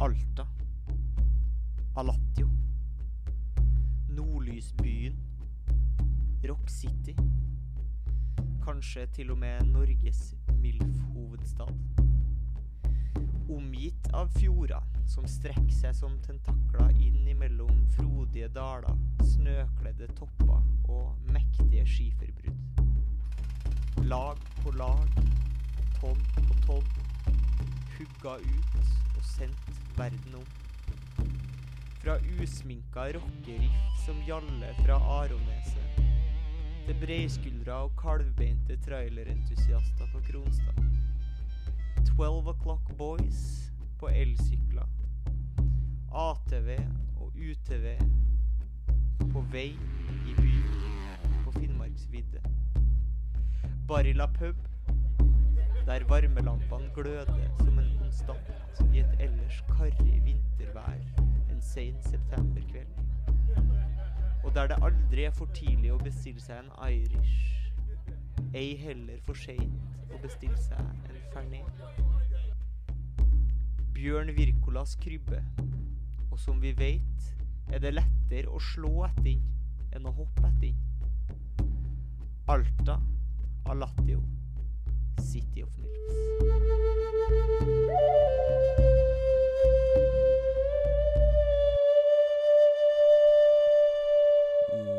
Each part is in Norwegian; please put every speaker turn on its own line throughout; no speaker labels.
Alta. Palatio. Nordlysbyen. Rock City. Kanskje til og med Norges MILF-hovedstad. Omgitt av fjorder som strekker seg som tentakler inn imellom frodige daler, snøkledde topper og mektige skiferbrudd. Lag på lag, tonn på tonn hugga ut og sendt verden om. Fra usminka rockeriff som gjaller fra Aroneset, til breiskuldra og kalvbeinte trailerentusiaster på Kronstad. Twelve O'Clock Boys på elsykler. ATV og UTV på vei i by på Finnmarksvidda. Barilla pub der varmelampene gløder som en konstant i et ellers karrig vintervær en sen septemberkveld. Og der det aldri er for tidlig å bestille seg en Irish, ei heller for seint å bestille seg en Fernet. Bjørn Wirkolas krybbe, og som vi veit, er det lettere å slå etter den enn å hoppe etter den. Alta, Alatio, City of Milfs.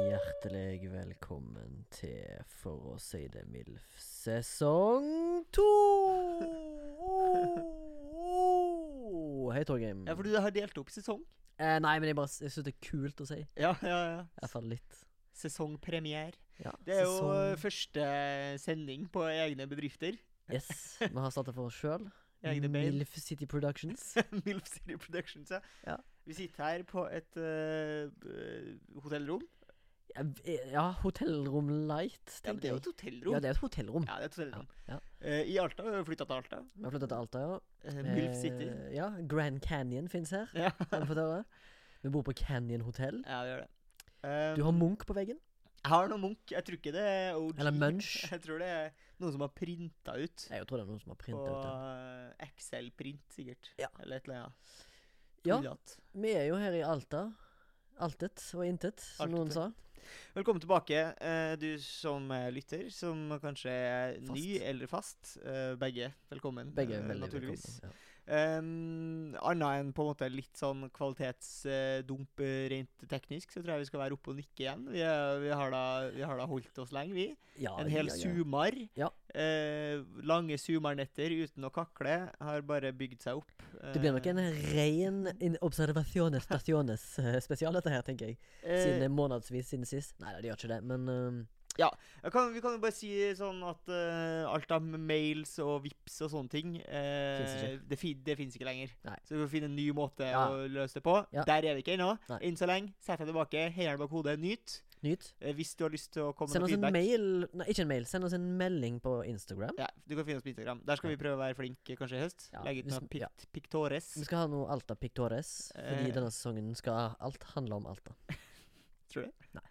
Hjertelig velkommen til For å si det MILF sesong to! Hei, Torgrim.
Ja, for du har delt opp sesong.
eh, nei, men jeg, bare s- jeg syns det er kult å si. I
Ja, ja,
hvert fall litt.
Sesongpremiere.
Ja,
Det er jo
sesong-
eh, første sending på egne bedrifter.
Yes, vi har starta for oss sjøl.
eh, Egne bein.
MILF City Productions.
Milf City Productions, ja.
Ja.
Vi sitter her på et eh, eh, hotellrom.
Ja, v- Ja, hotellrom light,
Ja, men
tenker
det er jo
jeg.
et hotellrom.
Ja, det er et hotellrom.
Ja, det er et hotellrom.
Ja,
Eh, I Alta. Vi har flytta til Alta.
Vi har flytta til Alta, ja.
Eh, Milf City.
Eh, Ja, Grand Canyon fins her.
Ja.
Har vi fått høre. Vi bor på Canyon hotell.
ja, vi gjør det. Eh,
Du har Munch på veggen.
Jeg har noe Munch. Jeg tror ikke det er OG.
Eller Munch.
Jeg tror det er noen som har printa ut.
Jeg tror det er noen som har
På
printa ut det.
eh, Excel-print, sikkert.
Ja.
Eller et eller annet.
Ja,
Tullete.
vi er jo her i Alta. Altet og intet, som noen
Altet.
sa.
Velkommen tilbake, eh, du som eh, lytter, som kanskje er ny
Fast.
eller fast. Eh, Begge velkommen,
Begge
eh,
er veldig
naturligvis.
velkommen. Ja.
Um, Annet enn på en måte litt sånn kvalitetsdump eh, rent teknisk, så tror jeg vi skal være oppe og nikke igjen. Vi, er, vi, har, da, vi har da holdt oss lenge, vi.
Ja,
En hel
ja, ja.
sumar.
Ja.
Eh, lange sumarnetter uten å kakle har bare bygd seg opp.
Det blir nok en
eh,
ren in- observaciones staciones eh, spesial, dette her, tenker jeg.
Eh,
Siden det er månedsvis siden sist. Nei, det gjør ikke det, men eh,
Jeg kan, vi kan jo bare si sånn at eh, alt av mails og vips og sånne ting eh,
Finnes ikke.
Det, fi, det finnes ikke lenger.
Nei.
Så vi får finne en ny måte
Ja.
å løse det på.
Ja.
Der er vi ikke ennå.
Nei.
Enn så lenge, sett deg tilbake, heier bak hodet, nyt.
nyt.
Eh, hvis du har lyst til å komme
Send
med
oss en
feedback.
mail Nei, ikke en mail. Send oss en melding på Instagram.
Ja, du kan finne oss på Instagram. Der skal
Ja.
vi prøve å være flinke kanskje i høst.
Ja,
Legge ut
hvis-
noe pikt,
ja.
pictores.
Vi skal ha noe Alta Pictores, fordi
Eh.
denne sesongen skal alt handle om Alta.
Tror du?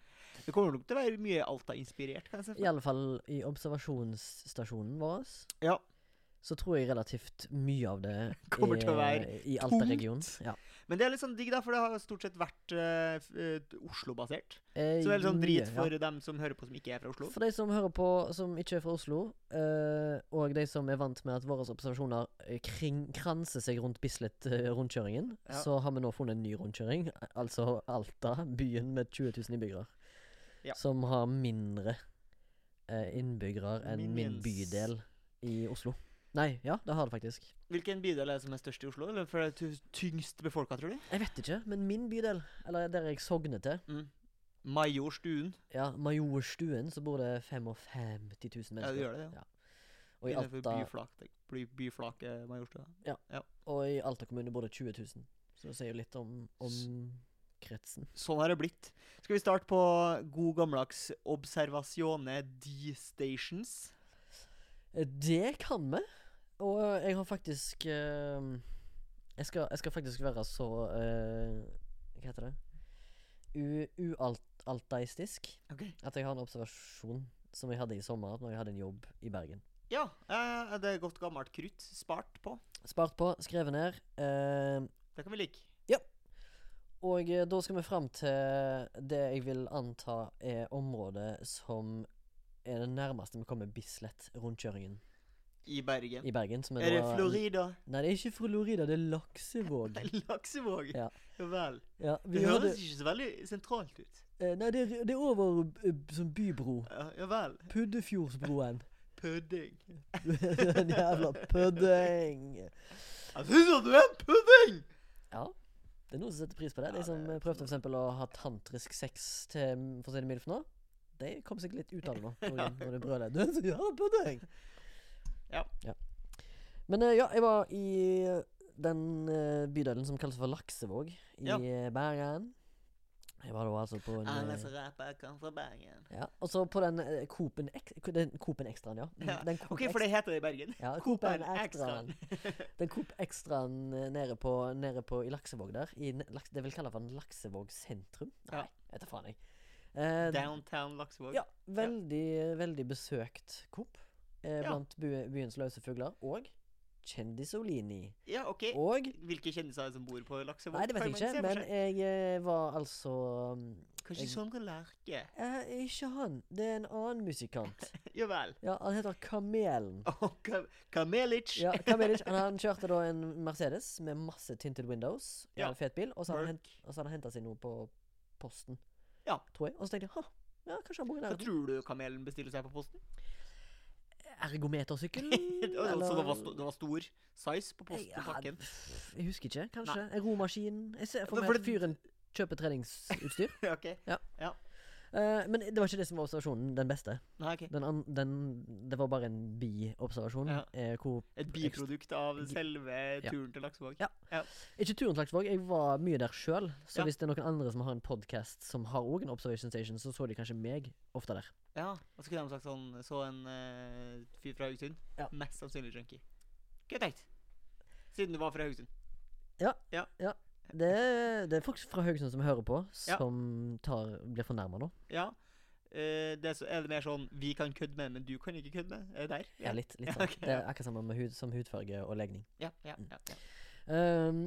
Det kommer nok til å være mye Alta-inspirert, kan jeg se for
I alle fall i observasjonsstasjonen vår
meg. Ja.
så tror jeg relativt mye av det
Kommer til å
er i Alta-regionen. Ja.
Men det er litt sånn digg, da, for det har jo stort sett vært eh, f- eh, Oslo-basert.
Eh,
Så det er litt sånn drit
mye, ja.
for dem som hører på som ikke er fra Oslo.
For de som hører på som ikke er fra Oslo, eh, og de som er vant med at våre observasjoner eh, kring, kranser seg rundt Bislett-rundkjøringen,
Ja.
så har vi nå funnet en ny rundkjøring. eh, Altså Alta, byen med 20 000 innbyggere.
Ja.
Som har mindre eh, innbyggere enn min
Minions.
bydel i Oslo. Nei, ja, det har det faktisk.
Hvilken bydel er det som er størst i Oslo? Eller for det er ty- tyngst befolka, tror du?
Jeg vet ikke, men min bydel, eller der jeg sogner til,
Majorstuen.
ja, Majorstuen, så bor det 55 000 mennesker.
Ja, det gjør det, ja.
Og i
innenfor
Alta,
byflak, by, byflaket Majorstua.
og i Alta kommune bor det 20 000. Så det sier jo litt om, om kretsen.
Sånn har det blitt. Skal vi starte på god gammeldags Observasione D Stations?
Eh, Det kan vi. Og jeg har faktisk eh, jeg, skal, jeg skal faktisk være så eh, Hva heter det? U- Ualtaistisk.
Ok.
At jeg har en observasjon som jeg hadde i sommer Når jeg hadde en jobb i Bergen.
Ja, eh, det er godt gammelt krutt. Spart på.
Spart på, skrevet ned. eh,
Det kan vi like.
og eh, da skal vi fram til det jeg vil anta er området som er det nærmeste vi kommer Bislett-rundkjøringen
I Bergen.
i Bergen. Som er,
Er det
da-
Florida?
Nei, det er ikke Florida, det er Laksevåg.
Laksevåg?
Ja.
Ja vel.
Ja, vi
Det
hørte,
høres ikke så veldig sentralt ut.
eh, nei, det er, det er over eh, som bybro.
Ja, ja vel.
Puddefjordsbroen.
Pudding.
Den jævla pudding.
Jeg syns at du er en pudding!
Ja. Det er noen som setter pris på det.
Ja,
De som
det er
eh, prøvde for eksempel å ha tantrisk sex til mm, for å si det mildt for noe, de kom seg litt ut av det nå. Når de- når de brøler. Du er så jævla pudding!
Ja.
Men eh, ja, jeg var i eh, den eh, bydelen som kalles for Laksevåg i
Ja.
eh, Bergen. Jeg var da altså på en eh,
Alle som rapper, kan fra Bergen.
ja, Og så på den eh, Coop-en Ex- den Coop-en Extraen, ja. Den,
Ja,
den Coop
OK, for det heter det i Bergen.
Ja,
Coop-en
Coop-en Extraen. Den Coop Extraen eh, nede på, nede på i Laksevåg der. I, ne- laks, det vil kalle for en Laksevåg sentrum.
Ja.
Nei, vet da faen jeg. Eh,
Downtown Laksevåg.
ja, veldig, veldig besøkt Coop. Eh,
Ja.
Blant by, byens løse fugler. Og Kjendisolini.
Ja, OK.
Og
Hvilke kjendiser er Eh, det som bor på Laksevåg?
Nei, det vet
Kan
jeg
man
ikke,
se for
men
seg?
jeg eh, var altså
Kanskje
jeg-
Sondre Lerche?
eh, Ikke han. Det er en annen musikant.
Ja vel.
Ja, Han heter Kamelen.
Og Ka- Kamelic.
Ja, Kamelic, han, han kjørte da en Mercedes med masse tinted windows. Ja.
Ja.
En fet bil. Og så hadde han
Merc.
hent- og så hadde han henta seg noe på posten,
Ja.
tror jeg. Og så tenkte jeg ha, ja, kanskje han bor i
Hva
nærheten.
tror du kamelen bestiller seg på posten?
Ergometersykkel?
Så det var, sto, det var stor size på posten
Ja,
pakken?
pff, Jeg husker ikke. Kanskje. En romaskin. Jeg ser for
Men
meg
for
at
det-
fyren kjøper treningsutstyr.
OK.
Eh, men det var ikke det som var observasjonen. Den beste.
Nei, ok.
Den an, den, det var bare en biobservasjon.
Ja.
eh, hvor
Et biprodukt av selve
Ja.
turen til Laksevåg?
Ja. Ikke turen til Laksevåg, jeg var mye der sjøl. Så
Ja.
hvis det er noen andre som har en podkast som har òg en observation station, så så de kanskje meg ofte der.
Ja, og så kunne de sagt sånn Så en eh, fyr fra Haugesund.
Ja.
Mest sannsynlig junkie. Gøy tenkt. Siden du var fra Haugesund.
Det, det er folk fra Haugesund som hører på,
Ja.
som tar, blir fornærma nå.
Ja. Eh, det er, så, er det mer sånn Vi kan kødde med, men du kan ikke kødde med? Er det der?
Ja, litt, litt sånn.
ok,
Det er akkurat samme med hud, som hudfarge og legning.
Ja, ja, ja, ja.
Ehm,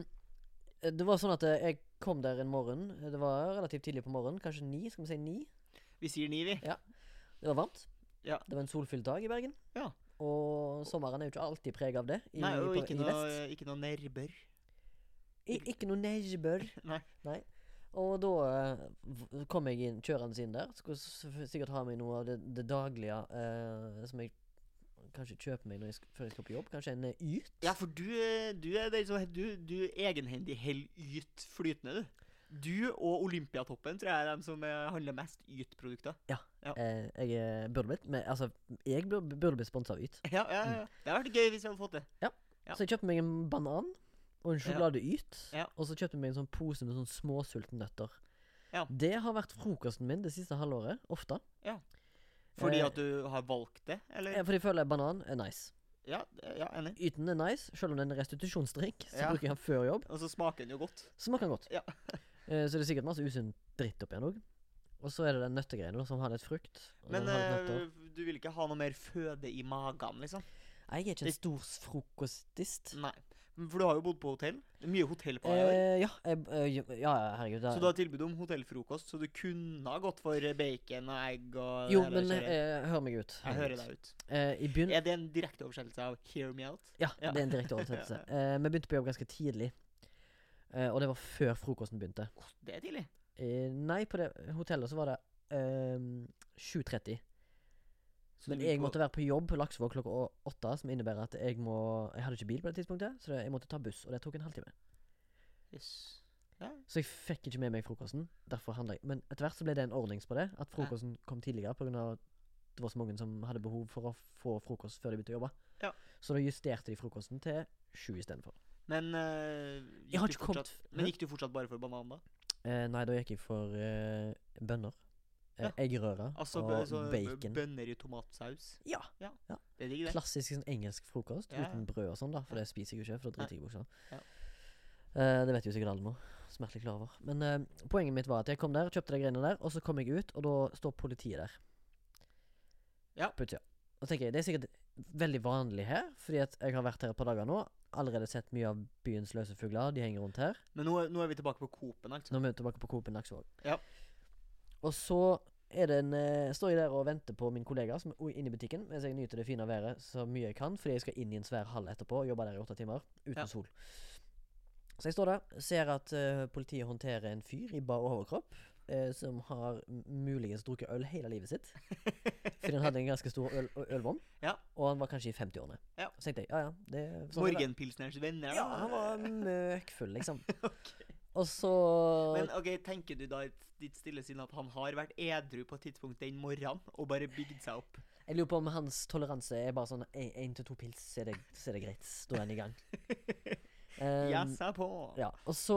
det var sånn at eh, jeg kom der en morgen. Det var relativt tidlig på morgenen, kanskje ni. Skal vi si ni?
Vi sier ni, vi.
Det var varmt.
Ja.
Det var en solfylt dag i Bergen.
Ja.
Og sommeren er jo ikke alltid preg av det. I,
Nei, og
på,
ikke
i
noe,
vest.
ikke noe nerver.
I, ikke noe nedbør.
Nei.
Og da eh, v- kom jeg inn, kjørende inn der. Skulle s- f- sikkert ha meg noe av det, det daglige eh, som jeg kanskje kjøper meg når jeg, sk- før jeg skal på jobb. Kanskje en eh, yt.
Ja, for du, eh, du er den som Du, du egenhendig heller yt flytende, du. Du og Olympiatoppen tror jeg er dem som eh, handler mest Yt-produkter.
Eh, jeg eh, burde blitt men, Altså, jeg bur- burde blitt sponsa av Yt.
Ja, ja, ja. Det hadde vært gøy hvis vi hadde fått det. Ja.
Så jeg kjøpte meg en banan og en
Ja.
sjokolade-Yt.
Ja.
Og så kjøpte jeg meg en sånn pose med sånn småsultne nøtter.
Ja.
Det har vært frokosten min det siste halvåret. Ofte.
Fordi
Eh,
at du har valgt det, eller?
Eh, Fordi jeg føler banan er nice.
Ja, ja enig.
Yten er nice, selv om den er restitusjonsdrikk. Så
Ja.
bruker jeg den før jobb.
Og så smaker den jo godt.
Smaker den godt.
Ja.
Eh, så det er sikkert masse usunn dritt oppi den òg. Og så er det den nøttegreiene da, som har litt frukt. Og
Men
den har litt nøtter.
eh, du vil ikke ha noe mer føde i magen, liksom?
Nei, jeg er ikke
det- Mm.
en stor frokostist.
Nei. For du har jo bodd på hotell. Det er mye hotell på deg. eller?
Eh, ja, jeg, eh, ja, ja, herregud. det
Så
er-
du har tilbud om hotellfrokost, så du kunne ha gått for bacon og egg og det
jo,
hele
men
kjøret.
eh, hør meg ut.
Jeg
hør
hører
meg ut.
deg ut.
Eh, I begyn
Er det en direkte oversettelse av 'hear me out'?
Ja,
Ja.
det er en direkte oversettelse. Eh, vi begynte på jobb ganske tidlig. Eh, og det var før frokosten begynte.
Åh, det er tidlig.
Eh, nei, på det hotellet så var det ehm, 7.30.
Så
Men
du vil
jeg
på-
måtte være på jobb på Laksevåg klokka å- åtte, som innebærer at jeg må Jeg hadde ikke bil på det tidspunktet, så det, jeg måtte ta buss, og det tok en halvtime.
Yes.
Så jeg fikk ikke med meg frokosten. Derfor handla jeg. Men etter hvert så ble det en ordnings på det, at frokosten kom tidligere pga. det var så mange som hadde behov for å få frokost før de begynte å jobbe.
Ja.
Så da justerte de frokosten til sju istedenfor.
Men eh, gikk,
Jeg har
du
ikke
fortsatt,
kommet-
men gikk du fortsatt bare for banan, da?
Eh, nei, da gikk jeg for eh, bønner. Eh,
Ja.
Eggerøre
Altså
og
bø- så bø-
bacon.
bønner i tomatsaus?
ja.
Det er digg, det.
Klassisk sånn engelsk frokost
Ja, ja.
uten brød og sånn, da for det spiser jeg jo ikke. For det driter jeg i buksa.
Ja.
Eh, det vet jo sikkert alle nå. Smertelig klar over. Men eh, poenget mitt var at jeg kom der, kjøpte de greiene der, og så kom jeg ut, og da står politiet der.
Ja.
På utsida. Og tenker jeg, det er sikkert veldig vanlig her, fordi at jeg har vært her et par dager nå. Allerede sett mye av byens løse fugler, de henger rundt her.
Men nå, nå er vi tilbake på Coop-en. altså. ikke sant?
Nå er vi tilbake på Coop i Laksevåg.
Ja.
Og så er det en, eh, står jeg der og venter på min kollega som er inne i butikken mens jeg nyter det fine været så mye jeg kan, fordi jeg skal inn i en svær hall etterpå og jobbe der i åtte timer uten
Ja.
sol. Så jeg står der, ser at eh, politiet håndterer en fyr i bar overkropp eh, som har m- muligens drukket øl hele livet sitt. Fordi han hadde en ganske stor øl, ølbom,
Ja.
og han var kanskje i 50-årene.
Ja.
Så tenkte jeg ja ja, det sånn er det.
Morgenpilsnerens venner.
Ja,
da.
han var møkfull, liksom. Og så
Men ok, tenker du da i ditt stille sinn at han har vært edru på et tidspunkt den morgenen og bare bygd seg opp?
Jeg lurer på om hans toleranse er bare sånn én til to pils, så er det, så er det greit. Da er han i gang. Um,
Yes, jeg er på!
ja. Og så,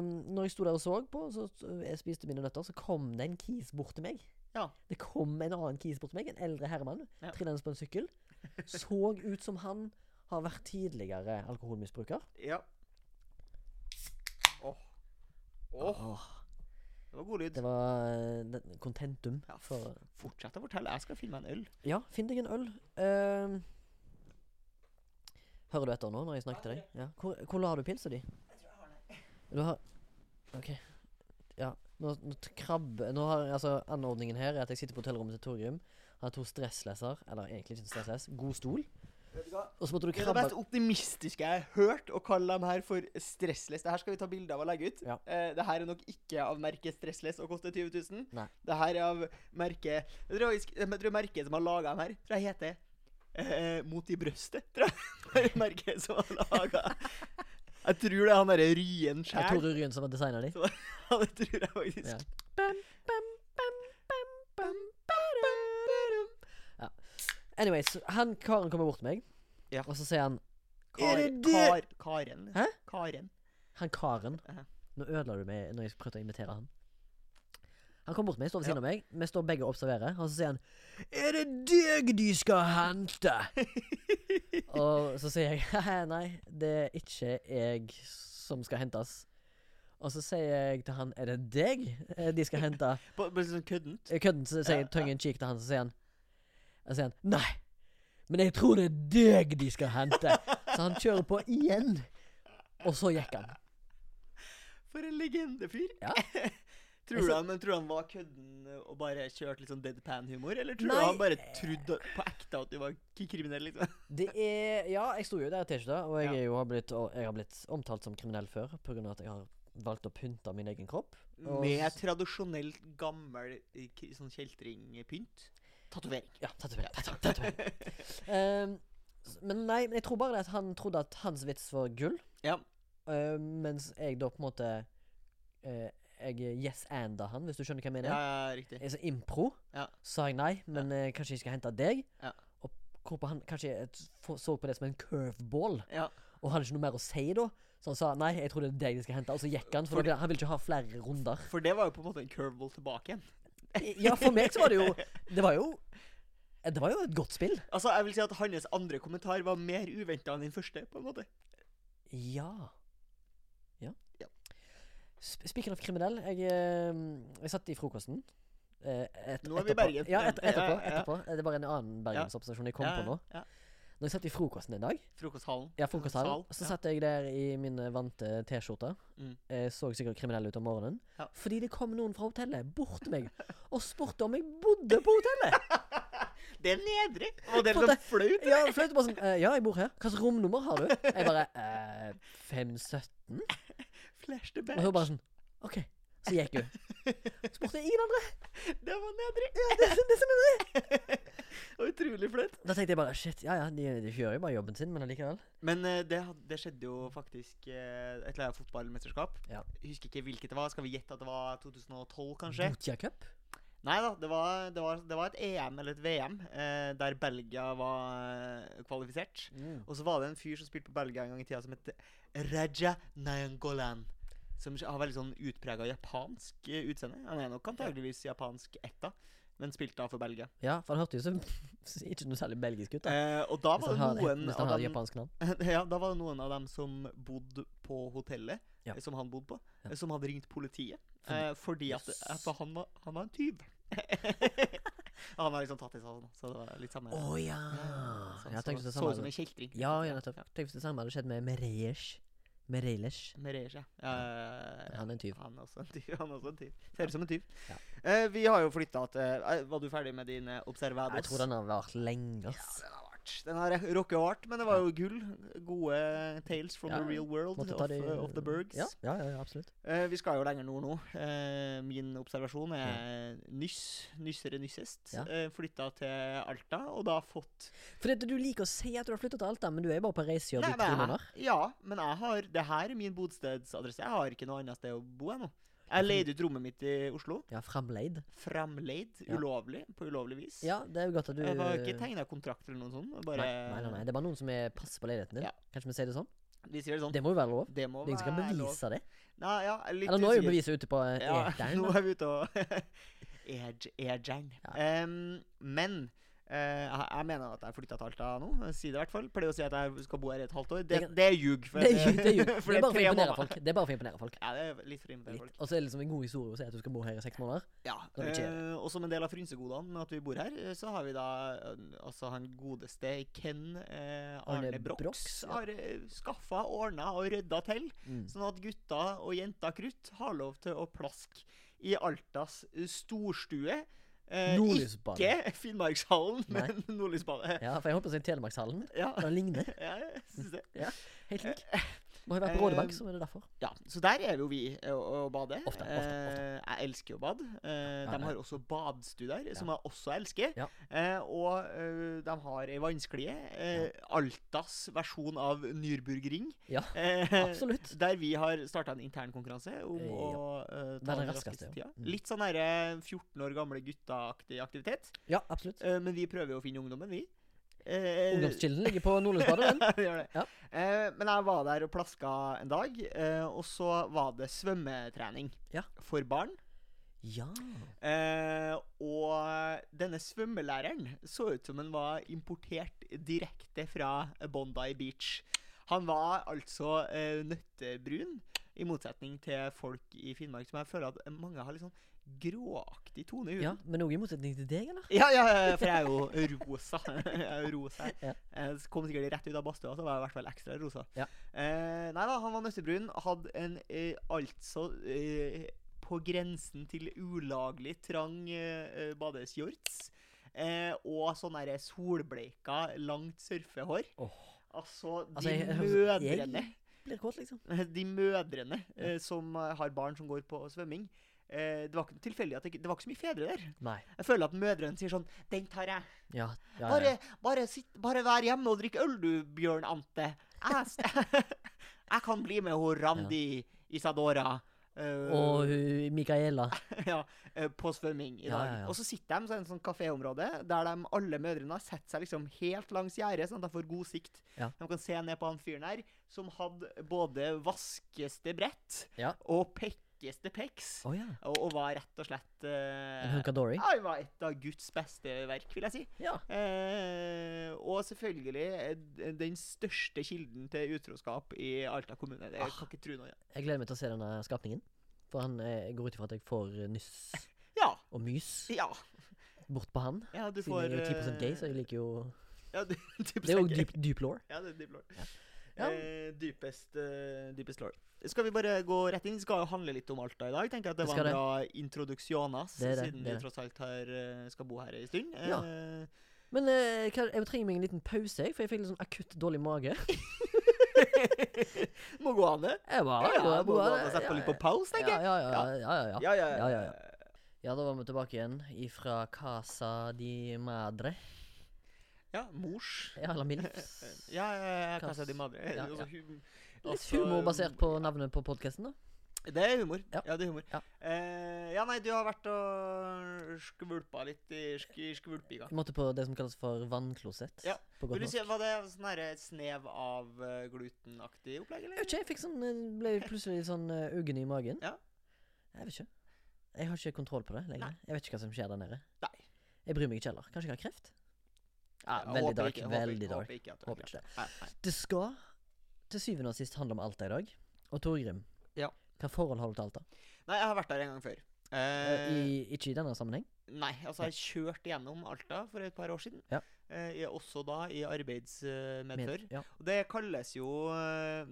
um, når jeg sto der og så på, så så jeg spiste mine nøtter, så kom det en kis bort til meg.
Ja.
Det kom en annen kis bort til meg, en eldre herremann,
Ja.
trillende på en sykkel. Så ut som han har vært tidligere alkoholmisbruker.
ja. Åh. Åh, det var god lyd.
Det var uh, den- contentum
Ja,
for
Fortsett å fortelle. Jeg skal finne meg en øl.
Ja, finn deg en øl. Ehm, hører du etter nå når jeg snakker til deg? Ja. Hvor, hvor la du pilsa di? Du har OK. Ja. Nå, nå t- krabbe Nå har altså anordningen her er at jeg sitter på hotellrommet til Torgrim. Har to stresslesser, eller egentlig ikke en stressless, god stol. Og så måtte du
Det er det
krabbe
mest optimistiske jeg har hørt, å kalle dem her for stressless. Det her skal vi ta bilde av og legge ut.
Ja.
Eh, det her er nok ikke av merket stressless og koster 20 000.
Nei.
Det her er av merket Jeg tror, faktisk- jeg tror merket som har laga dem her, tror jeg heter eh, Mot i brøstet, tror jeg. Det er merket som har laga Jeg tror det er han derre Ryen
Det er
sjæl.
Tore Ryen som har designa de.
Det tror jeg faktisk.
Ja. Anyways, han karen kommer bort til meg,
Ja.
og så sier han Er
Kar,
det det?
kar, karen.
Hæ?
Karen.
Han karen
Ja.
Nå ødela du meg når jeg prøvde å imitere han. Han kom bort til meg, står ved siden av meg. Vi står begge og observerer. Og så sier han 'Er det deg de skal hente?' og så sier jeg «Haha, 'Nei, det er ikke jeg som skal hentes'. Og så sier jeg til han 'Er det deg eh, de skal hente?'
Bare bare sånn køddent.
Kødden så sier jeg tongue in cheek til han, så sier han Så sier han Nei, men jeg tror det er deg de skal hente. Så han kjører på igjen. Og så gikk han.
For en legendefyr.
Ja. Altså-
tror, du han, men tror du han var kødden og bare kjørte litt sånn deadpan-humor? Eller tror
Nei.
du han bare trodde på ekte at du var k- kriminell? liksom?
Det er Ja, jeg sto jo der i T-skjorta, og jeg,
Ja.
er jo, har blitt, og jeg har blitt omtalt som kriminell før pga. at jeg har valgt å pynte min egen kropp. Og
Med
s-
tradisjonelt gammel eh, k- sånn kjeltringpynt. Tatovering.
Ja, tatovering. tato- tatovering. Ehm, s- men nei, men jeg tror bare det at han trodde at hans vits var gull,
Ja.
eh, mens jeg da på en måte eh, Jeg yes-anda han, hvis du skjønner hva jeg mener.
ja, ja, riktig.
Jeg sa impro,
Ja.
sa jeg nei, men eh, kanskje jeg skal hente deg.
Ja.
Og hvorpå han kanskje jeg t- f- så på det som en curveball.
Ja.
Og hadde ikke noe mer å si da. Så han sa nei, jeg tror det er deg de skal hente. Og så gikk han, for,
For-
da- han ville ikke ha flere runder.
For det var jo på en måte en curveball tilbake igjen.
Ja, for meg så var det jo Det var jo Det var jo et godt spill.
Altså, jeg vil si at Hans andre kommentar var mer uventa enn den første. på en måte.
Ja. Ja.
Ja.
Sp- Speaking of kriminell, jeg, eh, jeg satt i frokosten. eh, Et,
Nå er vi i Bergen.
Ja, et, etterpå.
Ja, ja, ja.
etterpå. Eh, Det var en annen bergensobservasjon jeg kom
Ja,
på nå.
Ja.
Når jeg satt i frokosten en dag,
Frokosthallen.
Ja, frokosthallen. Så
Sal,
satt jeg der i min vante T-skjorte.
Mm.
Jeg så sikkert kriminell ut om morgenen.
Ja.
Fordi det kom noen fra hotellet bort til meg og spurte om jeg bodde på hotellet.
ja. Det er nedrig! Og det er
For
litt flaut.
Ja, flaut bare sånn «Eh, Ja, jeg bor her. Hva slags romnummer har du? Jeg bare eh, 517.
Flash to
Og hun
back.
bare sånn OK. Så gikk hun. Spurte ingen andre. sånn-
Det var nedrig.
Det, er så- det er så mye.
Og utrolig flaut.
Da tenkte jeg bare shit, ja ja, de, de gjør jo bare jobben sin, men allikevel.
Men eh, det, had- det skjedde jo faktisk eh, et eller annet fotballmesterskap.
Ja. Mm.
Jeg Husker ikke hvilket det var. Skal vi gjette at det var 2012, kanskje?
Botia Cup?
Nei da, det var, det, var, det var et EM eller et VM eh, der Belgia var eh, kvalifisert. Og så var det en fyr som spilte på Belgia en gang i tida som het Raja Nayangolan. Som har veldig sånn utprega japansk eh, utseende. Han er nok antageligvis japansk etta, men spilte da for Belgia.
Ja, for han hørte jo så ikke noe særlig belgisk ut, da.
Eh, og da
Hvis
var
han
det
har,
noen
hvis han
av
har
dem
japansk navn.
ja, da var det noen av dem som bodde på hotellet
Ja.
eh, som han bodde på,
Ja.
eh, som hadde ringt politiet.
Fordi-
eh, fordi at,
Yes.
at han, var, han var en tyv. han har liksom tatt i seg sånn, så det var litt samme
Å ja!
sånn,
Jeg tenkte
så,
det
så
samme.
ut som en kjeltring.
Ja, ja, nettopp. Tenk hvis det samme hadde skjedd med Mereish. Mereilesh.
Merej, ja. Eh,
Han er en tyv.
han er også en tyv. Han er også en tyv. Ser ut som en tyv.
Ja.
Eh, vi har jo flytta til eh, Var du ferdig med din eh, observados?
Jeg tror den har vært lenge, ass.
Den har vært Den har rocka hardt, men det var jo gull. Gode tales from
Ja,
the real world
Måtte ta
of,
det-
eh, of the bergs.
Ja, ja, ja, ja, absolutt.
Eh, vi skal jo lenger nord nå. Eh, min observasjon er nyss, nyssere nyssest.
Ja.
Eh, flytta til Alta, og da fått
For det, du liker å si at du har flyttet til Alta, men du er jo bare på reise i
Nei,
to
men jeg-
måneder.
Ja, men jeg har det her er min bostedsadresse. Jeg har ikke noe annet sted å bo ennå. Jeg leide ut rommet mitt i Oslo.
Ja, framleid.
Framleid.
Ja.
Ulovlig. På ulovlig vis.
Ja, det er jo godt at du
Jeg har ikke tegna kontrakt eller noe sånt. Bare,
nei, nei, nei, nei, det er bare noen som er passer på leiligheten din.
Ja.
Kanskje vi sier det sånn?
Vi sier det sånn.
Det må jo være lov.
Det må
Det er ingen som kan
være lov.
bevise det.
Nei, ja, jeg er litt
Eller nå er jo
usikker.
beviset ute på eh,
Ja,
eteren.
nå
da.
er vi ute og Ej- Ejern.
Ja.
Em, men eh, jeg, jeg mener at jeg flytta til Alta nå. jeg Sier det i hvert fall. Pleier å si at jeg skal bo her i et halvt år. Det,
Det kan-
det er ljug. for-
Det er ju- det er ju- det
for
er bare for å
tre
imponere
måneder.
folk. Det er bare for å imponere folk.
Ja, det er litt for å imponere folk.
Litt. Og så er det liksom en god historie å si at du skal bo her i seks måneder.
Ja,
Når det ikke er
eh, og som en del av frynsegodene med at vi bor her, eh, så har vi da eh, altså han godeste Ken eh,
Arne
Arne Brox,
Brox, ja.
har eh, skaffa, ordna og rydda til,
Mm.
sånn at gutta og jenta krutt har lov til å plaske i Altas eh, storstue. Eh,
Nordlysbadet.
Ikke Finnmarkshallen,
Nei.
men Nordlysbadet.
Ja, for jeg holdt på å si Telemarkshallen.
Ja,
Den ligner.
ja, jeg syns det.
Helt lik. Må ha vært på Rådebank, så er det derfor.
Ja, så der er jo vi eh, og, og bader.
Ofte, ofte,
Eh, jeg elsker jo bad. Eh,
Ja,
de
nei.
har også badstue der, som jeg også elsker.
Ja.
Eh, og eh, de har ei vannsklie. Eh, Altas versjon av Nürburgring.
Ja,
Eh,
absolutt.
Der vi har starta en intern konkurranse om
Eh, ja.
å eh, ta
Være
den
den
raskeste
raskeste, ja.
tida.
Mm.
Litt sånn derre 14 år gamle gutta-aktig aktivitet.
Ja, absolutt.
Eh, men vi prøver jo å finne ungdommen, vi. Eh,
Ungdomskilden ligger på Nordlysbadet, den.
det gjør det.
Ja.
Eh, men jeg var der og plaska en dag, eh, og så var det svømmetrening
Ja.
for barn.
Ja.
Eh, og denne svømmelæreren så ut som han var importert direkte fra Bondi Beach. Han var altså eh, nøttebrun, i motsetning til folk i Finnmark som jeg føler at mange har litt sånn gråaktig tone i huden.
ja. Men noe i motsetning til deg, eller?
Ja, ja, ja, for jeg er jo rosa. Jeg er jo rosa.
Ja.
Jeg kom sikkert rett ut av badstua, så var jeg i hvert fall ekstra rosa.
Ja.
Eh, nei da, han var nøttebrun. Hadde en eh, altså eh, på grensen til ulaglig trang eh, eh, badeshorts. Eh, og sånn derre solbleika, langt surfehår.
Åh.
Altså, de
Altså, jeg- jeg-
mødrene
Blir kåt, liksom.
de mødrene eh, som eh, har barn som går på svømming eh, Det var ikke tilfeldig at det, ikke- det var ikke så mye fedre der.
Nei.
Jeg føler at mødrene sier sånn 'Den tar jeg'.
Ja. ja, ja,
Bare,
ja.
bare, sitt, bare vær hjemme og drikk øl, du, Bjørn Ante. Jeg, s- jeg kan bli med hun Randi Isadora eh,
Og hun Micaela.
ja, eh, på svømming i
Ja,
dag.
ja, ja.
Og så sitter de i en sånn kaféområde der de, alle mødrene har sett seg liksom helt langs gjerdet, sånn at de får god sikt.
Ja.
De kan se ned på han fyren her, som hadde både vaskeste brett
Ja.
og pekkeste peks.
Å ja.
Og, og var rett og slett eh,
En hunkadori.
ja, han var et av Guds beste verk, vil jeg si.
Ja.
Eh, og selvfølgelig eh, d- den største kilden til utroskap i Alta kommune. Det
Ah.
jeg kan ikke tro noe.
Jeg gleder meg til å se denne skapningen. For han eh, går ut ifra at jeg får eh, nyss
Ja.
og mys
Ja.
bort på han.
ja du får
Siden jeg er jo 10
eh,
gay, så jeg liker jo
ja, du,
Det er jo deep, deep law.
Ja, det er deep lord.
Ja.
Eh, dypest eh, dypest lord. Skal vi bare gå rett inn? Vi skal jo handle litt om Alta i dag. Tenker jeg at Det
Vi
var
skal
en bra introduksjonas,
Det er det,
siden
det er
vi
det.
tross alt har, eh, skal bo her ei stund.
Ja.
Eh,
Men eh, hva, jeg trenger meg en liten pause, jeg, for jeg fikk litt sånn akutt dårlig mage.
må gå an, det.
Jeg bare,
ja, må gå an å
ja,
sette på litt på pause,
ja,
tenker jeg.
ja, ja, ja, ja, ja.
ja,
Ja, ja, Ja, da var vi tilbake igjen ifra Casa di Madre.
ja mors.
Ja, eller Milfs.
Ja, ja, ja,
Kans-
Casa de Madre.
ja,
Altså,
ja.
hum,
Litt
altså,
humor basert på navnet på podkasten, da.
Det er humor.
Ja.
Ja, det er humor.
Ja.
Eh, ja, nei, du har vært og skvulpa litt i sk skvulpinga.
Vi måtte på det som kalles for vannklosett.
Ja.
På godt
Vil du
norsk.
si, Var det sånn her et snev av eh, glutenaktig opplegg,
Jeg
eller?
vet ikke, jeg fikk sånn, eh, ble plutselig sånn eh, uggen i magen.
Ja.
Jeg vet ikke. Jeg har ikke kontroll på det lenger. Jeg vet ikke hva som skjer der nede.
Nei.
Jeg bryr meg ikke heller. Kanskje jeg har kreft? Ja,
Jeg
veldig
håper
dark.
ikke- håper
veldig
ikke-
dark.
Håper ikke at du
Håper
har
ikke det.
kreft. Nei, nei.
Det skal til syvende og sist handle om Alta i dag. Og Torgrim,
Ja.
hva forhold har du til Alta?
nei, jeg har vært der en gang før.
Eh,
Eh,
I, ikke i denne sammenheng.
Nei, altså jeg kjørte gjennom Alta for et par år siden.
Ja.
Eh, jeg- også da i eh, arbeidsmedfør.
ja.
Og det kalles jo eh,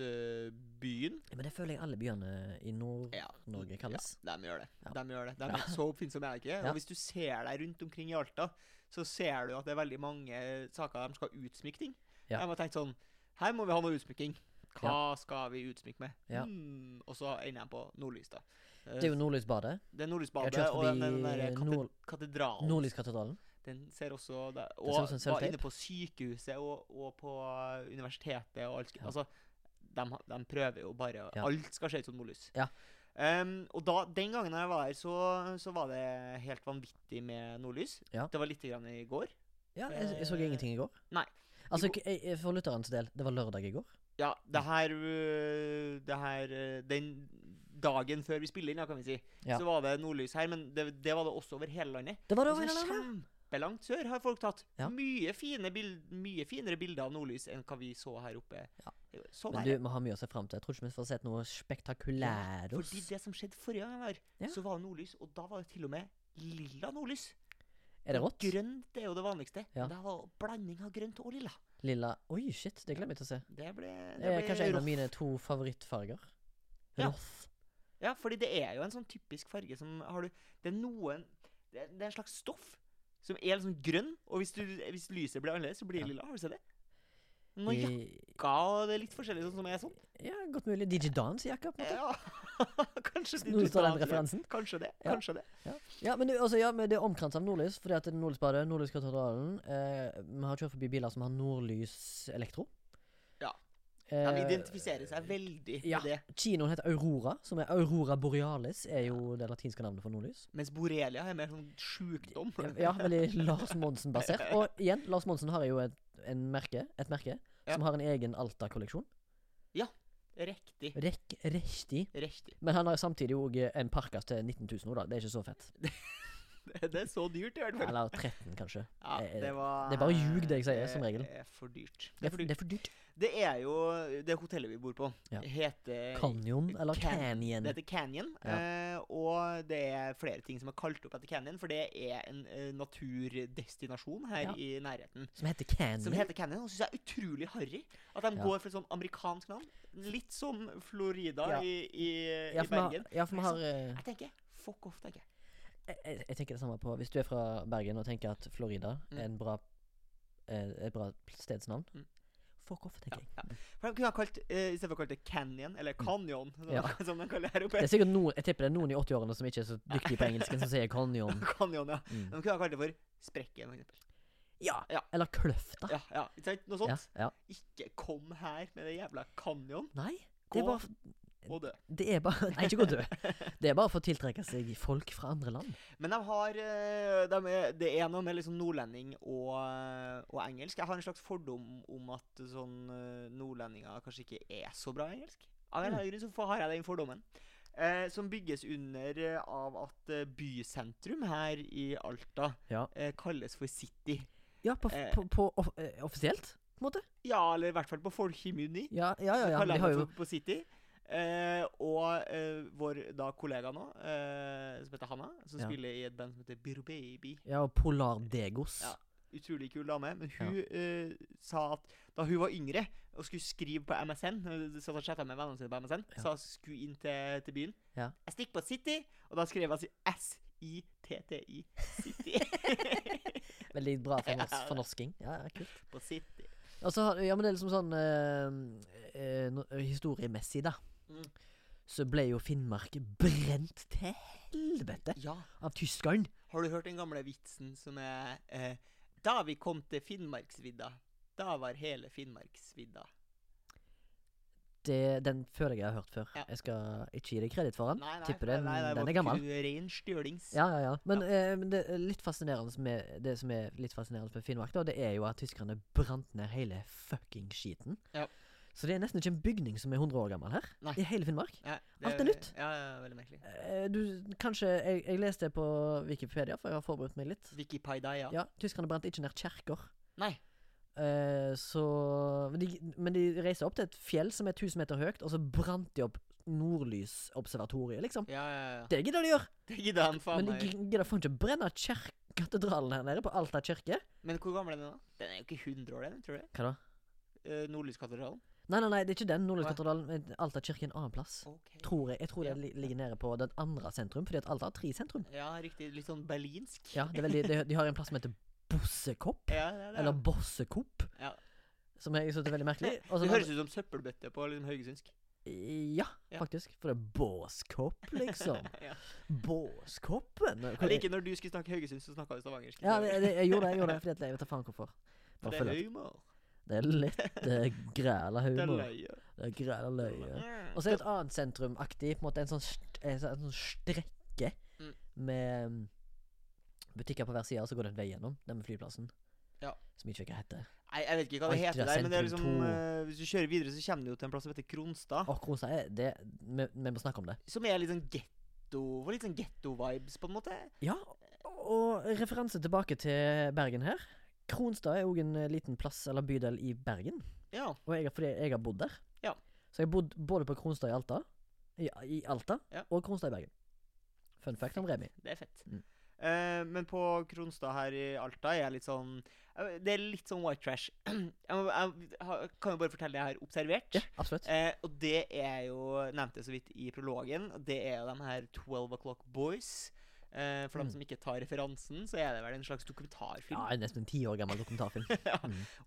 Nordlysbyen.
Ja, Men det føler jeg alle byene i Nord...
Ja.
Norge kalles.
Ja, de gjør det.
Ja.
De gjør det. De
Ja.
er så oppfinnsomme er de ikke.
Ja.
Og hvis du ser deg rundt omkring i Alta, så ser du at det er veldig mange saker de skal utsmykke ting.
Ja.
Jeg har tenkt sånn Her må vi ha noe utsmykking. Hva skal vi utsmykke med?
Ja.
Hmm, og så ender jeg på Nordlys, da. Eh,
Det er jo Nordlysbadet.
Det er Nordlysbadet
Jeg har kjørt
og den, den
forbi eh,
der kate
Nord-
katedralen.
Nordlyskatedralen.
Den ser også der.
ser
Og
ut som en
var
sølvteip.
inne på sykehuset og, og på eh, universitetet og alt.
Ja.
Altså, de, ha- de prøver jo bare
Ja.
Alt skal se ut som nordlys.
Ja.
Ehm, og da, den gangen jeg var her, så, så var det helt vanvittig med nordlys.
Ja.
Det var lite grann i går.
Ja, jeg, jeg så ingenting i går.
Eh, Nei.
Altså, k- jeg, jeg- for lytterens del, det var lørdag i går.
Ja, det her, øh, det her øh, Den dagen før vi spiller inn, ja, kan vi si,
Ja.
så var det nordlys her. Men det, det var det også over hele landet.
Det var det over
Altså,
hele landet.
Kjempelangt sør har folk tatt.
Ja.
Mye, fine bild, mye finere bilder av nordlys enn hva vi så her oppe. Eh,
Ja.
Så
Men
der.
du,
ja.
vi har mye å se fram til. Jeg tror ikke vi får sett noe spektakulært.
Fordi det som skjedde forrige gang jeg var her,
Ja.
så var det nordlys, og da var det til og med lilla nordlys.
Er det rått?
Grønt er jo det vanligste.
Ja.
Men det var blanding av grønt og lilla.
Lilla Oi, shit, det gleder jeg meg til å se.
Det ble,
Det
det
er
ble
kanskje en av
rått.
mine to favorittfarger.
Ja.
Roth.
Ja, fordi det er jo en sånn typisk farge som har du Det er noen Det er, det er en slags stoff som er litt sånn grønn, og hvis, du, hvis lyset blir annerledes, så blir det lilla. Har du sett det? Noen
I-
jakka og det er litt forskjellig sånn som er sånn.
Ja, godt mulig. DJ Dance-jakka, på en måte.
Ja, kanskje
Nå står den
det.
referansen.
Kanskje det.
Ja.
kanskje det.
Ja. ja, men det- altså, ja, men det er omkranset av nordlys, fordi at det er Nordlysbadet, Nordlyskatedralen eh, Vi har kjørt forbi biler som har nordlys-elektro.
Ja.
Eh,
De identifiserer seg veldig
ja.
med det.
Kinoen heter Aurora, som er Aurora borealis, er jo det latinske navnet for nordlys.
Mens borrelia er mer sånn sjukdom.
Ja, veldig Lars Monsen-basert. Og igjen, Lars Monsen har jo et, en merke, et merke
Ja.
som har en egen Alta-kolleksjon.
Riktig.
Rekk, riktig.
Riktig.
Men han har samtidig òg en parkas til 19 000 nå, da. Det er ikke så fett.
Det er så dyrt, i hvert fall.
Eller 13, kanskje.
Ja,
Eh,
det, var,
det er bare ljug, det jeg sier, som regel.
Det er for dyrt.
Det er, for- det er for dyrt.
Det er jo det hotellet vi bor på.
Ja.
Heter
Canyon, eller
Eh, Can-
Canyon.
Det heter Canyon,
Ja.
eh, og det er flere ting som er kalt opp etter Canyon, for det er en eh, naturdestinasjon her
Ja.
i nærheten.
Som heter Canyon.
Som heter Canyon, og syns jeg er utrolig harry. At de
Mm. Ja.
går for et sånn amerikansk navn. Litt som Florida
Ja.
i, i,
ja,
i
for vi har,
Bergen.
ja, for vi har eh,
Jeg tenker fuck off, tenker jeg.
jeg, jeg- jeg tenker det samme på Hvis du er fra Bergen og tenker at Florida er en bra, eh, et bra stedsnavn
Mm.
Fuck off, tenker jeg.
For de kunne ha kalt, eh, i stedet for å kalle det Canyon, eller Canyon, som-
Mm. Ja.
som de kaller det her
Det
oppe.
er sikkert noen, jeg tipper det er noen i 80-årene som ikke er så dyktige på engelsken, som sier canyon.
Canyon, ja.
Mm.
De kunne ha kalt det for Sprekken, for eksempel.
Ja,
Ja.
Eller kløfta.
Ja, ja. Ikke sant? Noe
Ja,
sånt.
ja.
Ikke kom her med det jævla canyon
Nei, det er
Gå.
bare
og dø.
Det er bare Nei, ikke gå død. Det er bare for å tiltrekke seg folk fra andre land.
Men de har eh, de er, Det er noe med liksom nordlending og, eh, og engelsk. Jeg har en slags fordom om at sånn eh, nordlendinger kanskje ikke er så bra i engelsk. Av en eller
Mm.
annen grunn så har jeg den fordommen. Eh, som bygges under eh, av at eh, bysentrum her i Alta
Ja.
eh, kalles for City.
Ja, på,
Eh.
på, på off eh, offisielt, på en måte.
Ja, eller i hvert fall på folkemunni.
Ja, ja, ja. ja. De
kaller jeg
har
meg
jo
for- på City. Eh, og eh, vår da kollega nå, eh, som heter Hanna, som
Ja.
spiller i et band som heter Biro Baby.
ja, Polar Degos.
Ja. Utrolig kul dame. Men hun eh, sa at da hun var yngre og skulle skrive på MSN, eh, så da chatta med vennene sine på MSN,
Ja.
sa hun skulle inn til, til byen.
Ja.
Jeg stikker på City, og da skrev altså hun S-I-T-T-I. City.
Veldig bra for,
Ja,
norsk,
ja.
for norsking. Ja, ja, kult.
på City.
Og så har- ja, men det er liksom sånn eh, eh, no, Historiemessig, da.
Mm.
Så ble jo Finnmark brent til helvete
Ja.
av tyskeren.
Har du hørt den gamle vitsen som er eh, Da vi kom til Finnmarksvidda, da var hele Finnmarksvidda.
det, den føler jeg jeg har hørt før.
Ja.
Jeg skal ikke gi deg kreditt for den.
Nei, nei,
Tipper
nei,
den,
nei, det
den
var
er gammel.
kun Ren stjølings.
Ja, ja, ja. Men, eh, men det, er litt fascinerende med, det som er litt fascinerende med Finnmark, da, det er jo at tyskerne brant ned hele fucking skiten.
Ja.
Så det er nesten ikke en bygning som er 100 år gammel her.
Nei.
I hele Finnmark.
Ja,
Alt er nytt.
Ja, ja, veldig merkelig.
Eh, Du, kanskje jeg, jeg leste det på Wikipedia, for jeg har forberedt meg litt.
Wikipedia.
Ja, tyskerne brant ikke ned kjerker.
Nei.
Eh, så men de, Men de reiste opp til et fjell som er 1000 meter høyt, og så brant de opp Nordlysobservatoriet, liksom.
Ja, ja, ja.
Det gidder de gjøre!
Det gidder han faen
Men de
meg.
gi- gidder faen ikke brenne kjer- katedralen her nede, på Alta kirke.
Men hvor gammel er den, da? Den er jo ikke 100 år, den, tror jeg.
Hva da?
Uh, Nordlyskatedralen.
Nei, nei, nei, det er ikke den
Nei.
Nordlyskatedralen. men Alta kirke er en annen plass.
Ok.
Tror jeg. Jeg tror
Ja.
det li- ligger nede på den andre sentrum, fordi at Alta har tre sentrum.
Ja, riktig. Litt sånn berlinsk.
Ja, det er veldig, de, de har en plass som heter Bossekopp,
Ja, det er det.
eller Bossekopp,
Ja.
som jeg synes er veldig merkelig. Og så-
Det høres ut som søppelbøtte på liksom, haugesundsk.
Ja,
Ja.
faktisk. For det er Båskopp, liksom.
Ja.
Båskoppen? Hvor-
Jeg liker når du skulle snakke haugesundsk, så snakka du stavangersk.
Ja, det, det, jeg gjorde det, jeg gjorde det, fordi at jeg vet da faen hvorfor. Bare
det
fordi
er
at
humor.
det er litt eh, græla
Det er
humor.
løye.
Det er græla løye.
Mm.
Og så er det et annet sentrumaktig, på en måte en sånn, st- en sånn- en sånn strekke
Mm.
med mm, butikker på hver side, og så går det en vei gjennom, den med flyplassen.
Ja.
Som ikke vet hva heter.
Nei, jeg vet ikke hva det
Alt
heter
fra
der, men det er
sentrum
liksom eh, Hvis du kjører videre, så kommer du jo til en plass som heter Kronstad.
Å, Kronstad er det vi, vi må snakke om det.
Som er litt sånn getto Får litt sånn getto-vibes, på en måte.
Ja, og referanse tilbake til Bergen her. Kronstad er òg en eh, liten plass eller bydel i Bergen,
Ja.
og jeg, har- fordi jeg har bodd der.
Ja.
Så jeg har bodd både på Kronstad i Alta, i, i Alta
Ja.
og Kronstad i Bergen. Fun fact om Remi.
Det er fett.
Mm.
Eh, men på Kronstad her i Alta er jeg litt sånn eh, Det er litt sånn white trash. Jeg, må, jeg har- kan jo bare fortelle det jeg har observert.
Ja, absolutt.
Eh, og det er jo nevnte jeg så vidt i prologen. og Det er jo de her 12 O'Clock Boys. Eh, for dem som ikke tar referansen, så er det vel en slags dokumentarfilm
Mm. Ja, nesten en ti år gammel dokumentarfilm.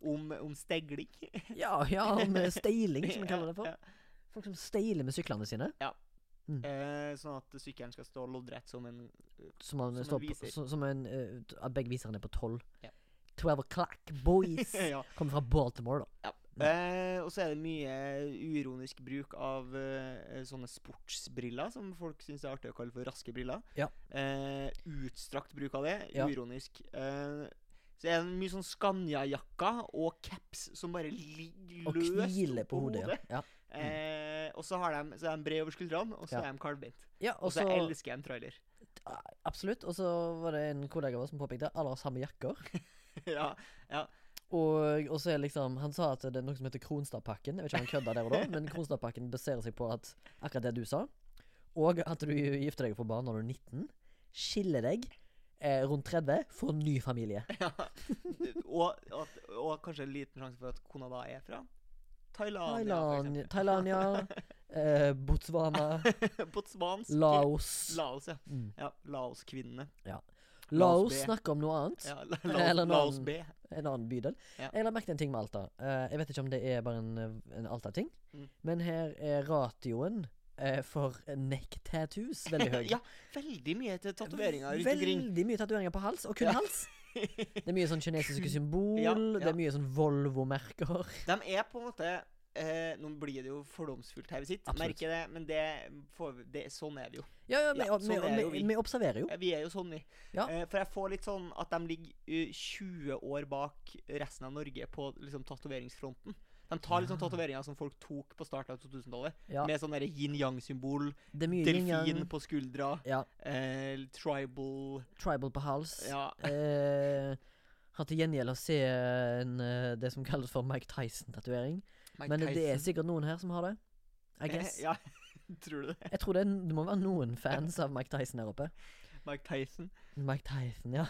om, om stegling.
Ja, ja, med steiling, som vi kaller det
Ja,
for. Folk som steiler med syklene sine.
ja. Eh, sånn at sykkelen skal stå loddrett som en
Som, man
Som en
står på,
viser.
som, som en, eh, at begge viserne er på tolv.
Ja.
Twelve o'clock, boys!
Ja.
Kommer fra Baltimore, da.
Ja.
Mm.
Eh, og så er det mye uironisk bruk av eh, sånne sportsbriller, som folk syns er artig å kalle for raske briller.
Ja.
Eh, utstrakt bruk av det.
Ja.
Uironisk. Eh, så er det mye sånn Scania-jakka og caps som bare ligger
Og
løst
hviler på hodet. ja. Ja.
Eh, og så, har de, så er de brede over skuldrene, og så
Ja.
er de kalvbeint.
Ja,
Og
og
så
så
elsker jeg en trailer.
Absolutt. Og så var det en kollega av oss som påpekte at alle har samme jakker.
ja, ja.
Og, og så er liksom Han sa at det er noe som heter Kronstadpakken. Jeg vet ikke om han kødda der og da, men Kronstadpakken baserer seg på at akkurat det du sa, og at du gifter deg for barn når du er 19, skiller deg eh, rundt 30, får en ny familie.
ja. og, og, at- og kanskje en liten sjanse for at kona da er fra Thailand.
Thailand, Thailandia, eh, Botswana,
Botswansk
Laos
Laos, ja.
Mm.
ja Laos-kvinnene.
ja.
Laos
Laos
B.
snakker om noe annet.
Ja, la,
Eller
Laos, Laos
noen-
B.
En annen bydel.
Ja.
Jeg la merke til en ting med Alta. Eh, jeg vet ikke om det er bare en, en Alta-ting,
Mm.
men her er ratioen eh, for neck tattoos veldig høy.
Ja, veldig mye til tatoveringer rundt omkring.
Veldig mye tatoveringer på hals, og kun
Ja.
hals. Det er mye sånn kinesiske symbol,
Ja,
det
ja.
er mye sånn Volvo-merker.
De er på en måte eh, Nå blir det jo fordomsfullt her vi sitter,
Absolutt.
merker jeg det, men det får vi, det, sånn er det jo.
Ja, ja, vi,
Ja,
vi,
sånn er jo
vi,
vi.
vi observerer jo.
Eh, Vi er jo sånn, vi.
Ja.
Eh, for jeg får litt sånn at de ligger eh, 20 år bak resten av Norge på liksom tatoveringsfronten. De tar litt sånn tatoveringer som folk tok på starten av 2000-tallet,
Ah. Ja.
med sånn derre yin-yang-symbol,
Det er mye
delfin
yin-yang.
på skuldra,
Ja,
eh, tribal
tribal på hals.
Ja.
Eh, har til gjengjeld å se en, eh, det som kalles for Mike Tyson-tatovering.
Mike
Men det er
Tyson.
sikkert noen her som har det. I guess.
Eh, Ja, tror du det?
Jeg tror det, er, det må være noen fans av Mike Tyson her oppe.
Mike Tyson.
Mike Tyson, ja.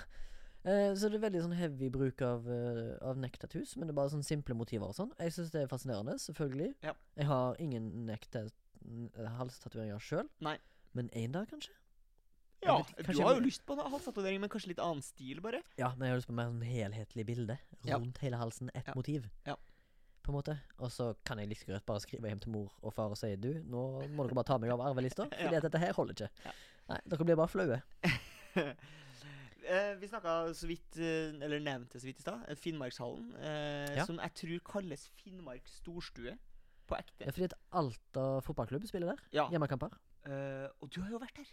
Eh, så det er veldig sånn heavy bruk av, uh, av neck tattoos, men det er bare sånn simple motiver og sånn. Jeg syns det er fascinerende, selvfølgelig.
Ja.
Jeg har ingen eh, neck ta- n- halstatoveringer sjøl,
Nei.
men en dag, kanskje?
Ja,
Jeg vet-
du
kanskje jeg
har
må-
jo lyst på en halvtatovering, men kanskje litt annen stil, bare.
Ja, men jeg har lyst på mer sånn helhetlig bilde
Ja.
rundt hele halsen. Ett
Ja.
motiv.
Ja.
På en måte. Og så kan jeg like greit bare skrive hjem til mor og far og si du, nå må dere bare ta meg av arvelista, fordi
Ja.
at dette her holder ikke. Nei, dere blir bare flaue.
Eh, vi snakka så vidt, eh, eller nevnte så vidt i stad, eh, Finnmarkshallen. Eh,
Ja.
Som jeg tror kalles Finnmark storstue. På
Det
ekte.
er fordi at Alta fotballklubb spiller der.
Ja.
Hjemmekamper.
Eh, og du har jo vært der.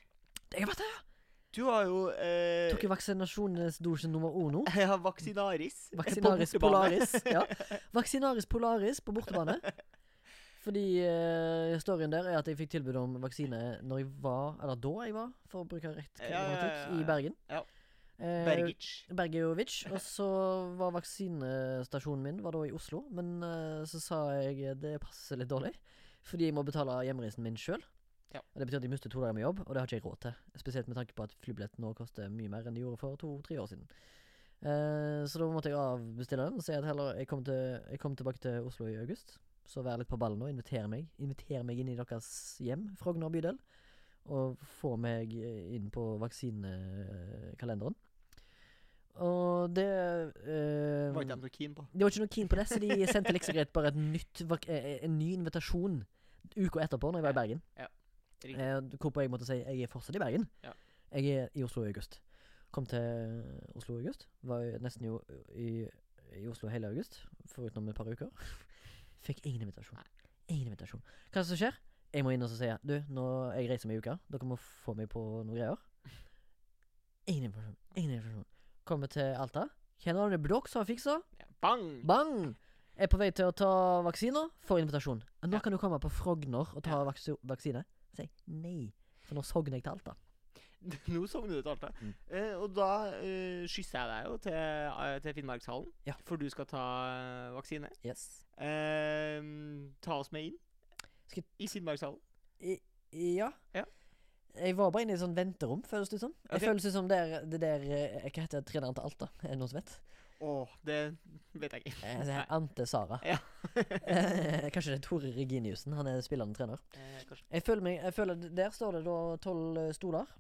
Jeg vet det!
Du har jo eh,
Tok jo vaksinasjonsdosjen nummer uno.
ja, Vaksinaris. eh, på
Vaksinaris
bortebane.
Polaris. Ja. Vaksinaris Polaris på bortebane. Fordi eh, storyen der er at jeg fikk tilbud om vaksine når jeg var Eller da jeg var, for å bruke rett
Ja, ja, ja,
grammatikk,
ja.
i Bergen.
Ja.
Eh,
Bergic.
Bergejovic. Og så var vaksinestasjonen min Var da i Oslo. Men eh, så sa jeg det passer litt dårlig, fordi jeg må betale hjemreisen min sjøl.
Ja.
Og Det betyr at jeg mister to dager med jobb, og det har ikke jeg råd til. Spesielt med tanke på at flybillett nå koster mye mer enn det gjorde for to-tre år siden. Eh, så da måtte jeg avbestille den og si at heller jeg kommer, til, jeg kommer tilbake til Oslo i august. Så vær litt på ballen nå. Inviter meg Inviter meg inn i deres hjem, Frogner bydel. Og få meg eh, inn på vaksinekalenderen. Og det eh,
Var ikke de noe keen på.
de var ikke noe keen på det, så de sendte liksom greit bare et nytt, vak- eh, en ny invitasjon uka etterpå, når jeg var i Bergen.
Ja, riktig.
Eh, Hvorpå jeg måtte si jeg er fortsatt i Bergen.
Ja.
Jeg er i Oslo i august. Kom til Oslo i august. Var jo nesten jo i, i Oslo hele august, foruten om et par uker. Fikk ingen invitasjon. Ingen invitasjon. Hva er det som skjer? Jeg må inn og så si du, nå jeg reiser meg i uka. Dere må få meg på noen greier. Ingen invitasjon. Ingen invitasjon. Kommer til Alta. Kjenner du det blokk som har fiksa?
Ja, bang!
Bang! Er på vei til å ta vaksiner. Får invitasjon. Nå
Ja.
kan du komme på Frogner og ta
Ja.
vaks vaksine. Sier jeg nei, for nå sogner jeg til Alta.
Nå sogner du til Alta.
Mm.
Eh, og da eh, skysser jeg deg jo til, eh, til Finnmarkshallen,
Ja.
for du skal ta eh, vaksine.
Yes.
Eh, ta oss med inn
Skal-
i Finnmarkshallen.
Ja.
Ja.
Jeg var bare inne i et sånt venterom, føles det som.
Ok.
Jeg føles det som det er- det der eh, Hva heter treneren til Alta? Er det noen som vet?
Å, det vet jeg ikke.
Eh, så her, Ante Sara.
Ja.
Eh, Kanskje det er Tore Reginiussen. Han er spillende trener.
Eh, kanskje.
Jeg føler meg jeg føler, Der står det da tolv eh, stoler,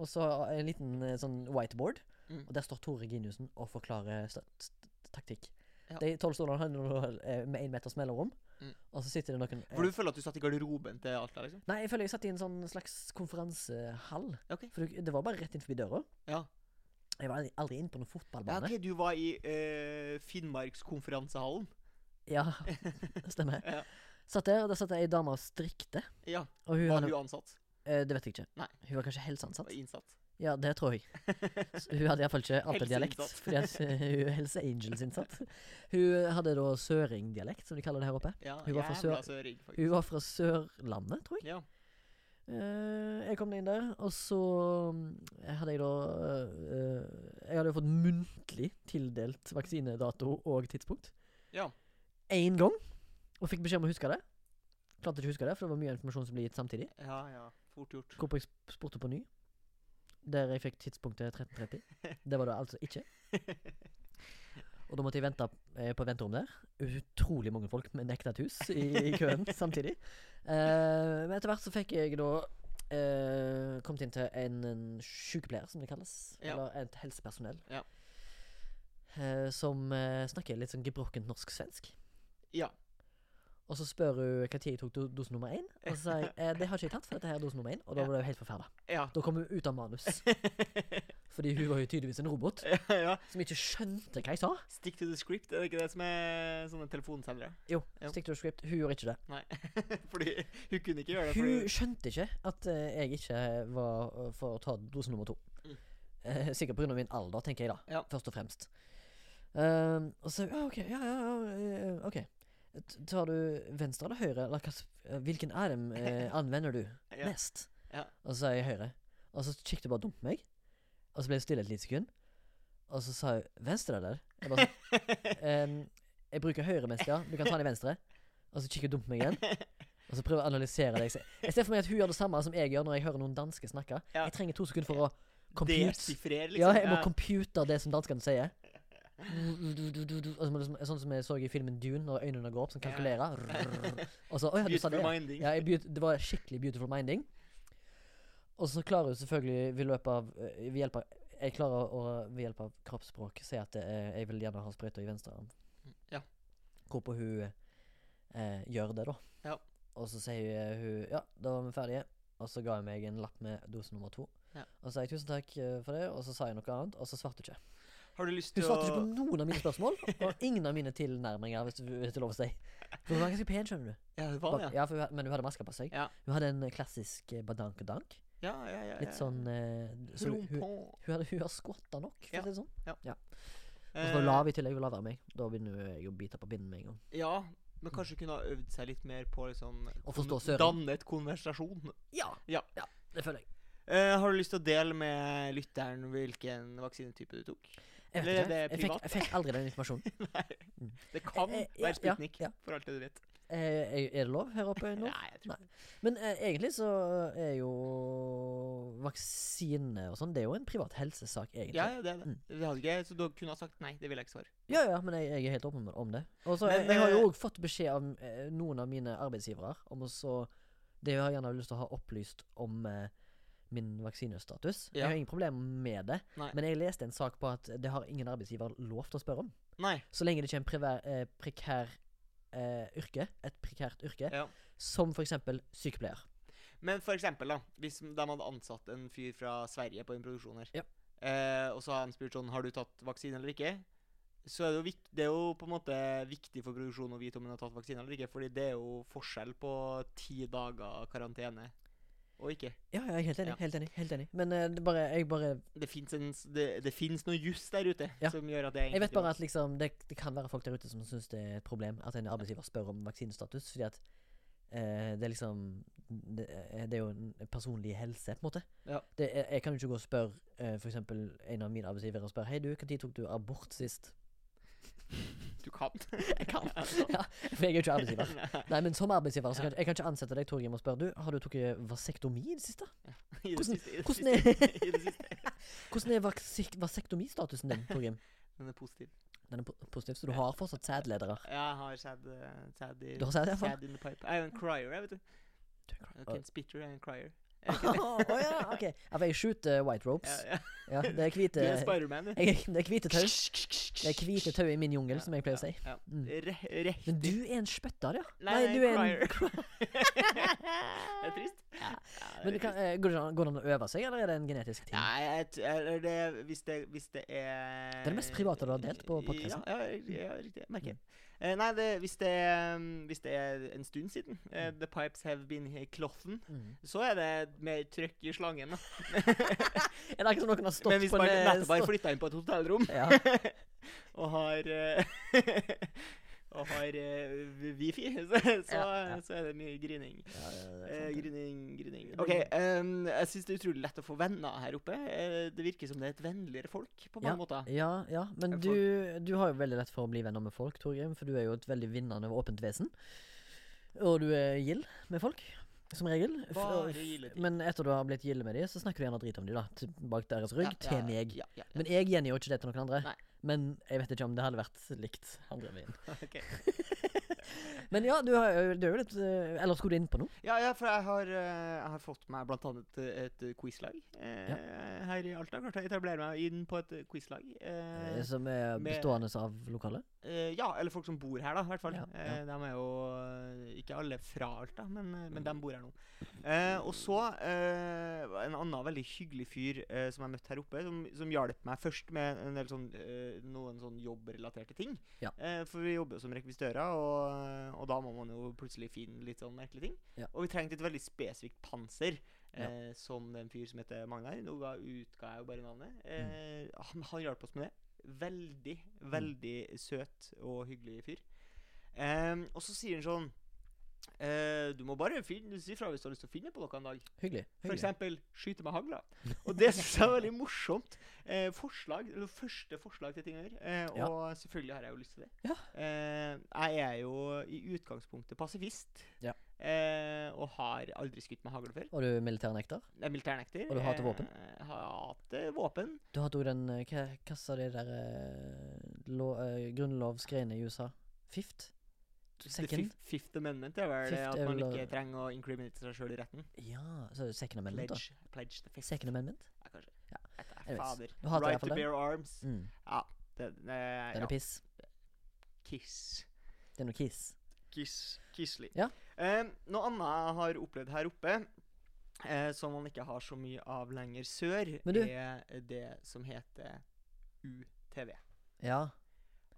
og så en liten eh, sånn whiteboard.
Mm.
Og der står Tore Giniussen og forklarer sta- st- taktikk.
Ja.
De tolv stolene har nå, eh, med én meters mellomrom,
Mm.
og så sitter det noen eh,
For du føler at du satt i garderoben til Alta, liksom?
Nei, jeg føler jeg satt i en sånn slags konferansehall.
Ok.
For du- det var bare rett inn forbi døra.
Ja.
Jeg var aldri inne på noen
ja
fotballbane.
ok, du var i eh, Finnmarkskonferansehallen.
Ja, stemmer.
Ja.
Satt der, og der satt det ei dame og strikte.
Ja.
Og hun
Var
hadde,
du ansatt?
eh, det vet jeg ikke.
Nei.
Hun var kanskje helseansatt.
Var Innsatt?
Ja, det tror jeg. Så Hun hadde iallfall ikke Alta-dialekt.
Helseinnsatt.
Fordi at eh, hun er Helse Angels-innsatt. Hun hadde da søringdialekt, som de kaller det her oppe.
Ja,
Hun var fra
jævla
Sør-
søring, faktisk.
Hun var fra Sørlandet, tror jeg.
Ja.
Eh, jeg kom inn der, og så mm, hadde jeg da eh, Jeg hadde jo fått muntlig tildelt vaksinedato og tidspunkt.
ja.
Én gang, og fikk beskjed om å huske det. Klarte ikke å huske det, for det var mye informasjon som ble gitt samtidig.
Ja, ja. Fort gjort.
Hvorpå jeg sp- spurte på ny. Der jeg fikk tidspunktet 13.30. Det var det altså ikke. Og da måtte jeg vente eh, på venterom der. Utrolig mange folk med nektet hus i, i køen samtidig. Eh, men etter hvert så fikk jeg da eh, kommet inn til en, en sykepleier, som det kalles.
Ja.
Eller et helsepersonell.
Ja.
Eh, som eh, snakker litt sånn gebrokkent norsk-svensk.
Ja.
Og så spør hun når jeg tok do dose nummer én. Og så sier jeg eh, det har ikke jeg tatt, for dette her er dose nummer én. Og da
Ja.
var det jo helt forferda.
Ja.
Da kom hun ut av manus. Fordi hun var jo tydeligvis en robot
ja.
som ikke skjønte hva jeg sa.
Stick to the script, er det ikke det som er sånne telefonselgere?
Jo,
Ja.
stick to the script. Hun gjorde ikke det.
Nei. fordi hun kunne ikke gjøre det.
Hun
Fordi...
skjønte ikke at eh, jeg ikke var eh, for å ta dose nummer to.
Mm.
Eh, sikkert pga. min alder, tenker jeg da.
Ja.
Først og fremst. Ehm, og så Ja, OK. Ja, ja, ja, eh, ok. T- Tar du venstre eller høyre? Eller hva, s- eh, hvilken arm eh, anvender du
Ja.
mest?
Ja.
Og så sa jeg høyre. Og så kikket hun bare dumt på meg. Og så ble det stille et lite sekund. Og så sa hun 'venstre, eller?' Jeg bare sånn ehm, Jeg bruker høyre mest, ja. Du kan ta den i venstre. Og så kikker hun dumt på meg igjen. Og så prøver jeg å analysere det. Jeg ser- Jeg ser for meg at hun gjør det samme som jeg gjør når jeg hører noen danske snakke.
Ja.
Jeg trenger to sekunder for å compute.
Desifrere, liksom.
Ja, jeg må compute det som danskene sier. Og så må det- Sånn som jeg så i filmen Dune, når øynene går opp, som kalkulerer. Og så, «Oi, ja, du sa
Beautiful
det, ja.»
minding.
Ja, jeg beut- det var skikkelig beautiful minding. Og så klarer hun selvfølgelig ved løpet av eh, ved hjelp av Jeg klarer å ved hjelp av kroppsspråk si at det er, jeg vil gjerne ha sprøyta i venstre arm.
Ja.
Hvorpå hun eh, gjør det, da.
Ja.
Og så sier hun Ja, da var vi ferdige. Og så ga hun meg en lapp med dose nummer to.
Ja.
Og så sa jeg tusen takk eh, for det, og så sa jeg noe annet, og så svarte hun ikke.
Har du lyst
Hun
til
svarte
å
ikke på noen av mine spørsmål, og ingen av mine tilnærminger, hvis du hvis det er lov å si. For hun var ganske pen, skjønner du.
Ja, det var det, ja.
Ja, for hun, Men hun hadde maske på seg.
Ja.
Hun hadde en klassisk eh, badank-dank.
Ja, ja, ja, ja.
Litt sånn eh, så hun, hun,
Rompå.
hun, hadde, hun har skvatta nok, for
Ja.
å si det sånn. Og så
Eh,
var hun lav i tillegg, hun var lavere enn meg. Da begynner hun- jeg å bite på pinnen med en gang.
Ja, men kanskje kunne ha øvd seg litt mer på liksom
Å forstå
kon-
søren.
Dannet konversasjon.
Ja.
Ja.
det føler jeg.
Eh, har du lyst til å dele med lytteren hvilken vaksinetype du tok?
Jeg,
Eller
vet
er
ikke,
det
jeg, fikk,
privat?
jeg fikk aldri den informasjonen.
Det kan
Eh, eh, ja,
være Sputnik,
ja, ja.
for alt det du vet.
Eh, er er det lov her oppe nå?
Nei, jeg tror
Nei. Men eh, egentlig så er jo vaksine og sånn Det er jo en privat helsesak, egentlig.
Ja, ja, det er det.
Mm.
det hadde ikke, så du kunne ha sagt nei. Det ville jeg ikke svare.
Ja, ja, men jeg, jeg er helt åpen om- om det. Og så jeg,
Men,
jeg har jo
eh,
òg fått beskjed av eh, noen av mine arbeidsgivere om å så Det har jeg gjerne lyst til å ha opplyst om eh, min vaksinestatus. Jeg
Ja.
har ingen problemer med det,
Nei.
men jeg leste en sak på at det har ingen arbeidsgiver lov til å spørre om.
Nei.
Så lenge det ikke er en prevær, eh, prekær eh, yrke, et prekært yrke,
Ja.
som for eksempel sykepleier.
Men for eksempel, da. Hvis de hadde ansatt en fyr fra Sverige på en produksjon her,
Ja.
eh, og så har de spurt sånn Har du tatt vaksine eller ikke? Så er det, jo vik det er jo på en måte viktig for produksjonen å vite om hun har tatt vaksine eller ikke, Fordi det er jo forskjell på ti dager karantene og ikke.
Ja, ja, jeg er helt enig.
Ja.
helt enig, helt enig Men eh, det bare, jeg bare
Det fins det, det finnes noe juss der ute
Ja.
som gjør at det
Jeg
egentlig
vet bare at liksom det, det kan være folk der ute som syns det er et problem at en arbeidsgiver spør om vaksinestatus, fordi at eh, det er liksom det, er- det er jo en personlig helse, på en måte.
Ja.
Det, jeg, jeg kan jo ikke gå og spørre eh, for eksempel en av mine arbeidsgivere og spørre Hei, du, når tok du abort sist?
Du kan.
Jeg kan. ja, for jeg er jo ikke arbeidsgiver. Nei, men som arbeidsgiver så kan jeg kan ikke ansette deg, Torgrim, og spørre du, har du tatt vasektomi i det siste?
I det
Hvordan-
siste. I det
hvordan er-
siste. I det siste.
Hvordan er vasek vasektomistatusen din, Torgrim?
Den er positiv.
Den er po- positiv, så du har fortsatt sædledere.
Jeg har sad, eh, sad, i,
Du har sæd, ja, faen.
sad in the pipe. Jeg er jo en crier, jeg, vet du. Jeg er ikke en spitter, jeg er en crier. Jeg er
Å
ikke det.
ja, ok. Ja, for jeg skyter white
Ja,
ropes.
ja.
Ja, det er
Du
hvite
er Spiderman, du.
eh, jeg, Det er hvite tau. Det er hvite tau i min jungel, som jeg pleier å si.
Ja.
Mm.
Re- re-
Men du er en spytter, ja.
Nei, nei,
du er
crier.
en
Det er trist. Ja, det er
Men det kan,
trist.
eh, går, det an, går det an å øve seg, eller er det en genetisk ting?
Nei, jeg, t- eller det, hvis, det, hvis det er
Det er det mest private du har delt på podcasten.
Ja, ja, ja, riktig. Jeg merker. Eh, nei, det, hvis, det, er, um, hvis det er en stund siden eh, The pipes have been here clothen,
Mm.
så er det mer trøkk i slangen. Da.
Er det akkurat som noen har stått
Men hvis
på
man
en eh,
nettopp har
stå-
flytta inn på et hotellrom
ja.
og har eh, Og har eh, wifi, så, så,
Ja, ja.
så er det mye grining.
ja, det er sant,
Eh,
det.
grining, grining. OK. em, jeg syns det er utrolig lett å få venner her oppe. Eh, det virker som det er et vennligere folk på mange måter.
ja, ja, men
Jeg
du, du har jo veldig lett for å bli venner med folk, Torgrim, for du er jo et veldig vinnende og åpent vesen. Og du er gild med folk, som regel. F-
Bare
f-
gilde ting.
Men etter du har blitt gild med dem, så snakker du gjerne drit om dem, da. til- Bak deres rygg, til meg.
Ja, ja, ja.
Men jeg gjengir jo ikke det til noen andre.
Nei.
Men jeg vet ikke om det hadde vært likt andre veien.
Ok.
Men ja, du, har, jo- du er jo litt eh, Eller skulle du inn på noe?
ja, ja, for jeg har, eh, jeg har fått meg blant annet et eh, quizlag eh, her i Alta. Klarte jeg å etablere meg inn på et eh, quizlag.
eh,
Eh,
Som er
med-
bestående av lokalet?
Eh, ja, eller folk som bor her, da, i hvert fall.
Ja, ja.
Eh, de er jo eh, ikke alle fra Alta, men, eh,
Mm.
men de bor her nå. Eh, og så eh, var en annen veldig hyggelig fyr eh, som jeg møtte her oppe, som, som hjalp meg først med en del sånn, eh, noen sånn jobbrelaterte ting.
Ja.
Eh, for vi jobber jo som rekvisitører, og, og da må man jo plutselig finne litt sånn merkelige ting.
Ja.
Og vi trengte et veldig spesifikt panser.
Ja.
Eh, som den fyr som heter Magnar. Nå ga- utga jeg jo bare navnet.
Mm.
Eh, han, han hjalp oss med det. Veldig,
Mm.
veldig søt og hyggelig fyr. Em, og så sier han sånn eh, Du må bare finne, si fra hvis du har lyst til å finne på noe en dag.
Hyggelig.
For
hyggelig.
eksempel skyte med hagla. Og det syns jeg er veldig morsomt. Eh, forslag, eller Første forslag til ting å gjøre. Eh,
Ja.
Og selvfølgelig har jeg jo lyst til det.
Ja.
Eh, jeg er jo i utgangspunktet pasifist.
Ja.
Eh, og har aldri skutt med hagl før.
Og du er militærnekter?
Jeg er militærnekter.
Og du hater våpen?
Eh, hater våpen.
Du hadde jo den eh, Hva, hva sa de der eh, lo, eh, grunnlovsgreiene i USA? Fifth?
The
Second?
fifth, fifth Amendment er vel
Fifth
at
er
man
vel
ikke
å-
trenger å incriminate seg sjøl i retten.
Ja, så er det second amendment, da.
Pledge, pledge the fifth.
Second amendment?
Ja, kanskje.
Ja.
Dette er
Anyways,
fader.
du hater i hvert
Right
fall
to
den.
bear arms.
Mm.
Ja. Den, eh,
Den
ja.
er piss.
Kiss.
Det er noe kiss.
Kiss, kisslig.
Ja.
Eh, noe annet jeg har opplevd her oppe, eh, som man ikke har så mye av lenger sør,
Men du-
er det som heter TV.
Ja,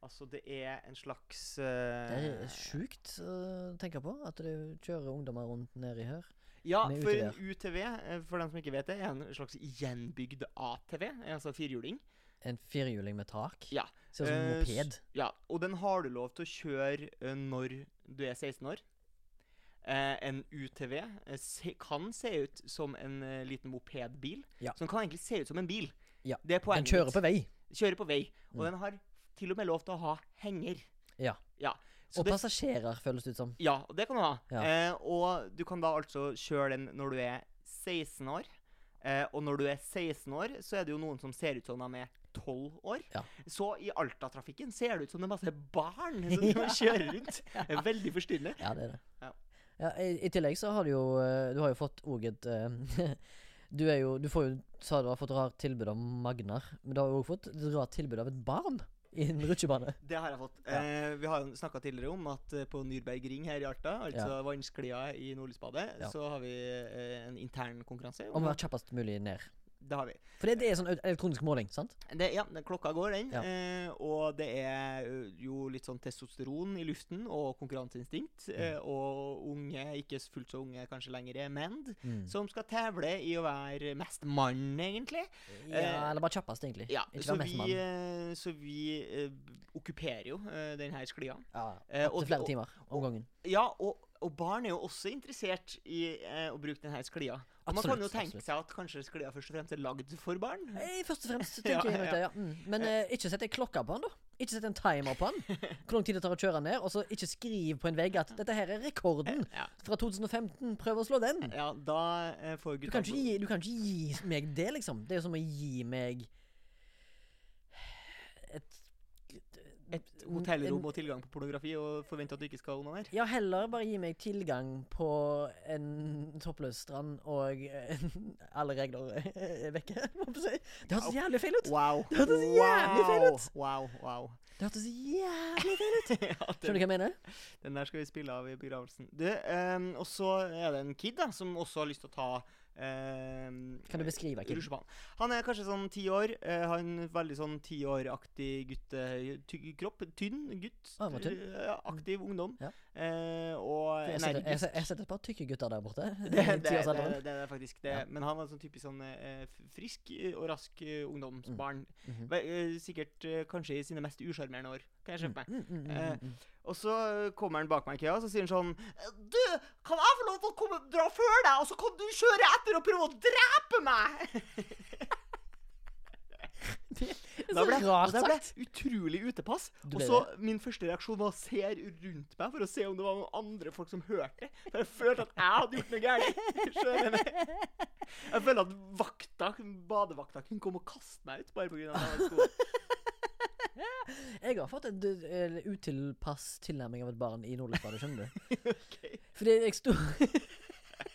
Altså, det er en slags
det
eh,
er sjukt å tenke på at du kjører ungdommer rundt nedi her.
Ja,
med
for en
UTV.
UTV, eh, for dem som ikke vet det, er en slags gjenbygd ATV, altså firhjuling.
En firehjuling med tak.
Ja.
Ser ut som en
Eh,
moped.
Ja, og den har du lov til å kjøre eh, når du er 16 år. Eh, en UTV eh, se, kan se ut som en eh, liten mopedbil.
Ja.
Så den kan egentlig se ut som en bil.
Ja.
Det er
Den
poenget.
kjører på vei.
mitt. kjører på vei. Og
Mm.
den har til og med lov til å ha henger.
Ja.
Ja, så
Og
det,
passasjerer, føles det ut som.
ja og det kan du ha.
Ja.
Eh, og du kan da altså kjøre den når du er 16 år. Eh, og når du er 16 år, så er det jo noen som ser ut som de er 12 år.
Ja.
Så i Alta-trafikken ser det ut som det er masse barn som driver og kjører rundt. Det er veldig forstyrrende.
Ja, det er det.
Ja.
Ja, i, I tillegg så har du jo eh, Du har jo fått òg et eh, Du er jo Du får jo sa du har fått rart tilbud om Magnar, men du har jo òg fått et rart tilbud av et barn i en rutsjebane.
Det har jeg fått.
Ja.
Eh, vi har jo snakka tidligere om at eh, på Nürberg Ring her i Alta, altså vannsklia i Nordlysbadet,
Ja.
så har vi eh, en intern konkurranse.
Om å være kjappest mulig ned.
Det har vi.
For det, det er sånn au- elektronisk måling, sant?
Det, ja, den- klokka går, den.
Ja.
Eh, og det er ø, jo litt sånn testosteron i luften og konkurranseinstinkt.
Mm.
Eh, og unge, ikke s- fullt så unge kanskje lenger, er menn
Mm.
som skal tevle i å være mest mann, egentlig.
Ja, eller bare kjappest, egentlig.
Ja,
Ikke
så
være mest
vi,
mann.
eh, så vi eh, okkuperer jo eh, denne sklia.
Ja,
eh, og
opptil
de-
flere timer om gangen.
Ja, og, og barn er jo også interessert i eh, å bruke denne sklia. Og man kan jo
Absolutt,
tenke
absolutt.
seg at kanskje sklia først og fremst er lagd for barn.
Eh, Først og fremst,
Ja,
tenker jeg. Vet
ja.
jeg ja. mm. Men eh, ikke sett ei klokke på han, da. Ikke sett en timer på han. Hvor lang tid det tar å kjøre han ned. Og så ikke skriv på en vegg at 'dette her er rekorden
Ja,
fra 2015', prøv å slå den.
ja da eh, får
Du
gutta
kan, ikke gi, du kan ikke gi meg det, liksom. Det er jo som å gi meg et,
et hotellrom og tilgang på pornografi og forvente at du ikke skal onanere.
Ja, heller bare gi meg tilgang på en toppløs strand og eh, alle regler er vekke, må jeg få si. Det hørtes jævlig feil ut!
Wow.
Det hørtes jævlig feil ut.
Wow, wow.
Det hørtes jævlig feil ut!
Ja,
Skjønner du
den,
hva jeg mener?
den der skal vi spille av i begravelsen. Du, ehm, og så er det en kid da, som også har lyst til å ta ehm,
Kan du beskrive kiden?
Rutsjebanen. Han er kanskje sånn ti år. eh, har en veldig sånn tiåraktig guttekropp. Tynn gutt.
Ah, han var tynn.
eh, aktiv ungdom.
Ja.
Eh, og
Jeg setter- jeg
energisk.
setter jeg setter et par tykke gutter der borte.
det,
i
det, det, det,
tiårsalderen.
det er faktisk det. Men han var sånn typisk sånn eh, f- frisk eh, og rask eh, ungdomsbarn.
Mhm.
Ve- eh, Sikkert eh, kanskje i sine mest usjarmerende år, kan jeg skjønne meg.
Mm, mm, mm,
Eh,
mm.
Og så eh, kommer han bak meg i køa og så sier han sånn Du, kan jeg få lov til å komme, dra før deg, og så kan du kjøre etter og prøve å drepe meg?
Det er så rart
da ble
sagt.
jeg utrolig utepass.
Du
Og
ble
så min første reaksjon var å se rundt meg for å se om det var noen andre folk som hørte. For jeg følte at jeg hadde gjort noe gærent. Skjønner du? Jeg følte at vakta, badevakta kunne komme og kaste meg ut bare pga. at jeg var stor.
Jeg har fått en d- eh, utilpass tilnærming av et barn i Nordlandsbadet, skjønner du.
Ok.
Fordi jeg sto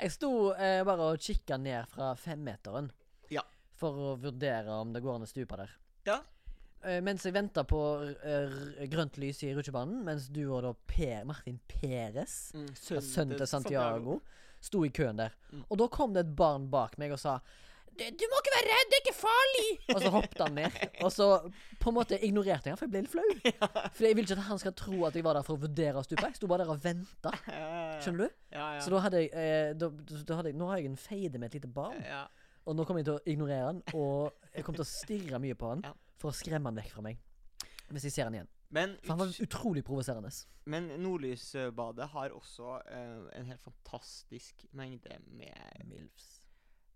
Jeg sto eh, bare og kikka ned fra femmeteren
Ja.
for å vurdere om det går an å stupe der.
Ja.
Eh, mens jeg venta på eh, r- grønt lys i rutsjebanen, mens du og da Per Martin Peres,
Mm,
ja, sønnen til Santiago, sto i køen der.
Mm.
Og da kom det et barn bak meg og sa du, du må ikke være redd, det er ikke farlig! Og så hoppet han ned. Og så på en måte ignorerte jeg han, for jeg ble litt flau. For jeg vil ikke at han skal tro at jeg var der for å vurdere å stupe. Jeg sto bare der og venta.
Ja, ja, ja.
Skjønner du?
ja, ja.
Så da hadde jeg, eh, da, da hadde jeg Nå har jeg en feide med et lite barn,
ja.
og nå kommer jeg til å ignorere han. Og jeg kommer til å stirre mye på han
Ja.
for å skremme han vekk fra meg. Hvis jeg ser han igjen.
Men,
For han
ut-
var utrolig provoserende.
men Nordlysbadet har også eh, en helt fantastisk mengde med
Milfs.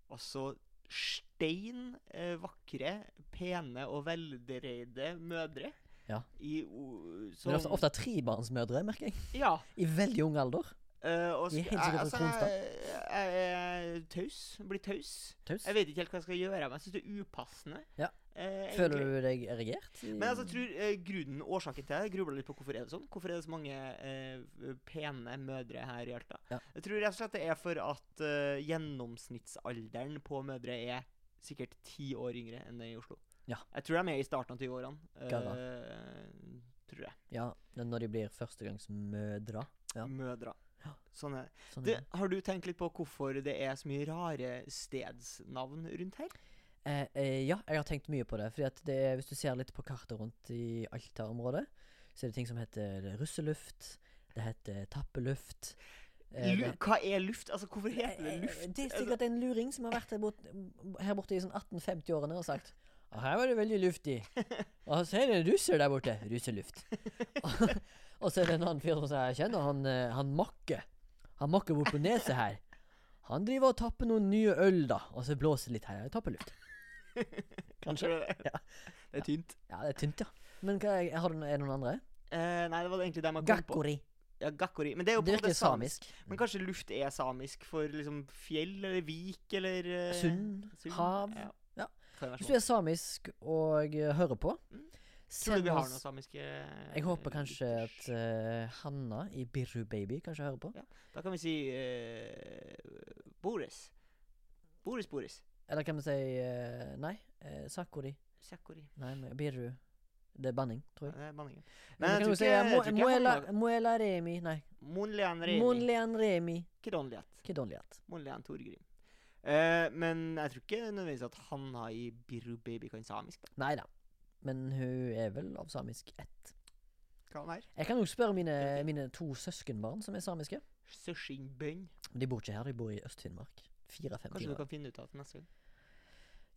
altså stein eh, vakre, pene og veldreide mødre.
Ja.
I, o-
Men det er ofte,
som-
ofte trebarnsmødre, merker jeg.
Ja.
I veldig ung alder.
eh, og
I
sk-
helt
jeg,
sikkert
altså,
Kronstad.
jeg, jeg er taus. Blir taus.
Taus.
Jeg vet ikke helt hva jeg skal gjøre, men jeg syns det er upassende.
Ja.
Eh,
Føler
egentlig.
du deg erigert? i-
Men altså, jeg tror eh, grunnen, årsaken til det, jeg grubler litt på hvorfor er det sånn. Hvorfor er det så mange eh, pene mødre her i Alta?
Ja.
Jeg tror rett og slett det er for at eh, gjennomsnittsalderen på mødre er sikkert ti år yngre enn den i Oslo.
Ja.
Jeg tror de er i starten av 20-årene. eh, tror jeg.
Ja, det er når de blir førstegangsmødre. Ja.
Mødre.
Ja.
Sånn er det.
Sånn.
Du, har du tenkt litt på hvorfor det er så mye rare stedsnavn rundt her?
Eh, eh, ja, jeg har tenkt mye på det. Fordi at det er, Hvis du ser litt på kartet rundt i Alta-området, så er det ting som heter russeluft, det heter tappeluft eh,
Lu hva er luft? Altså, hvorfor heter det
Eh,
luft?
Det er sikkert en luring som har vært her borte, her borte i sånn 1850-årene og sagt «Ja, her var det veldig luftig. Og så er det en russer der borte. Russeluft. og, og så er det en annen fyr som sier, jeg kjenner han, eh, han Makke. Han Makke bort på neset her. Han driver og tapper noen nye øl, da. Og så blåser det litt her. Jeg tapper luft.
Kanskje det er det.
Ja.
Det er tynt.
Ja, det er tynt, ja. Men hva, er- har du, no- er det noen andre?
Eh, nei, det var egentlig det man kom på.
Gakkori.
Ja, gakkori. Men det er jo på
Det
en måte
virker samisk.
Men kanskje luft er samisk for liksom fjell eller vik eller eh,
Sund, hav.
Ja.
Ja.
Kan være
Hvis
sånn.
du er samisk og eh, hører på,
Mm. Tror
send
du vi har
oss
noe samiske
Jeg håper
Eh,
kanskje at eh, Hanna i Birru Baby kanskje hører på.
Ja. Da kan vi si eh, Boris. Boris, Boris.
Eller kan vi si eh, Nei, eh, Sakuri.
Sakori.
Nei, men Birru. Det er banning, tror jeg.
Det er banningen.
Men
Men jeg
kan
tror
du si eh,
ikke- jeg
Mo-
tror ikke jeg har
Moela
noe-
Moela Remi Nei.
Monlian Remi.
Monlean Remi.
Kronliat.
Kedonliat.
Monlian Torgrim. Eh, men jeg tror ikke nødvendigvis at Hanna i Birru Baby kan samisk. Da.
Nei da. Men hun er vel av samisk ett.
Hva han er?
Jeg kan jo spørre mine,
Ok.
mine to søskenbarn som er samiske.
Søskingbønn.
De bor ikke her, de bor i Øst-Finnmark. Fire-fem
Kanskje du
timer.
kan finne ut av det neste gang.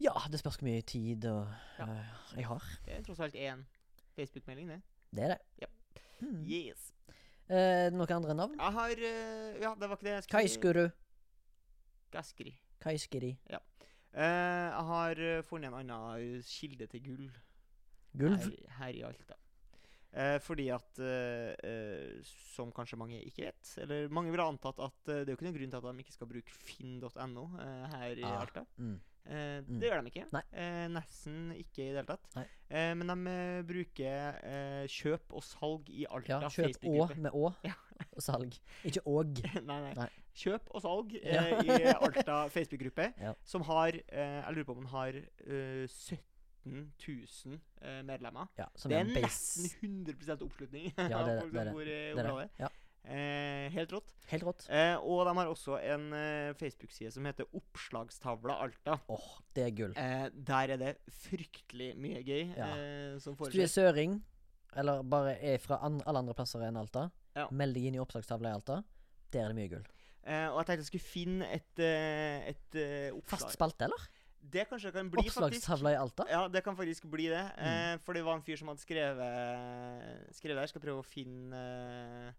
Ja, det spørs hvor mye tid og,
Ja.
eh, jeg har.
Det er tross alt én Facebook-melding, det.
Det er det. Hmm. Mm.
Yes.
Eh, noen andre navn?
Jeg har eh, Ja, det var ikke det jeg skulle
Kaiskuru.
Kaiskuri.
Kaiskiri.
Eh, jeg har eh, funnet en annen kilde til gull
Gulv.
her, her i Alta. Eh, fordi at eh, eh, Som kanskje mange ikke vet, eller mange ville antatt at eh, det er jo ikke noen grunn til at de ikke skal bruke finn.no eh, her i
Ah.
Alta.
Mm.
Eh,
Mm.
Det gjør de ikke.
Nei.
Eh, nesten ikke i det hele tatt.
Nei.
Eh, men de eh, bruker eh, kjøp og salg i Alta.
Ja, kjøp Å
Facebook-gruppe.
med Å og salg. Ikke Åg.
nei, nei.
Nei.
Kjøp og salg
Ja.
eh, i Alta Facebook-gruppe,
Ja.
som har eh, Jeg lurer på om den har eh, 17 000 eh, medlemmer.
Ja, som
det
er
er
en base.
nesten 100 oppslutning
Ja, det er det,
av folk
det er
som
det,
bor i
Det er det.
området.
Ja,
Eh, helt rått.
helt rått.
Eh, og de har også en eh, Facebook-side som heter Oppslagstavla Alta.
Åh, det er gull.
Eh, der er det fryktelig mye gøy
Ja.
eh, som
Hvis du er
foregår.
søring, eller bare er fra an alle andre plasser enn Alta,
Ja.
meld deg inn i oppslagstavla i Alta. Der er det mye gull.
Eh, og jeg tenkte jeg skulle finne et, eh, et eh,
Fast
oppslag.
spalte, eller?
Det kanskje kan bli, faktisk.
Oppslagstavla i Alta?
Ja, det kan faktisk bli det.
Mm.
Eh, for det var en fyr som hadde skrevet Skrevet her. Skal prøve å finne eh,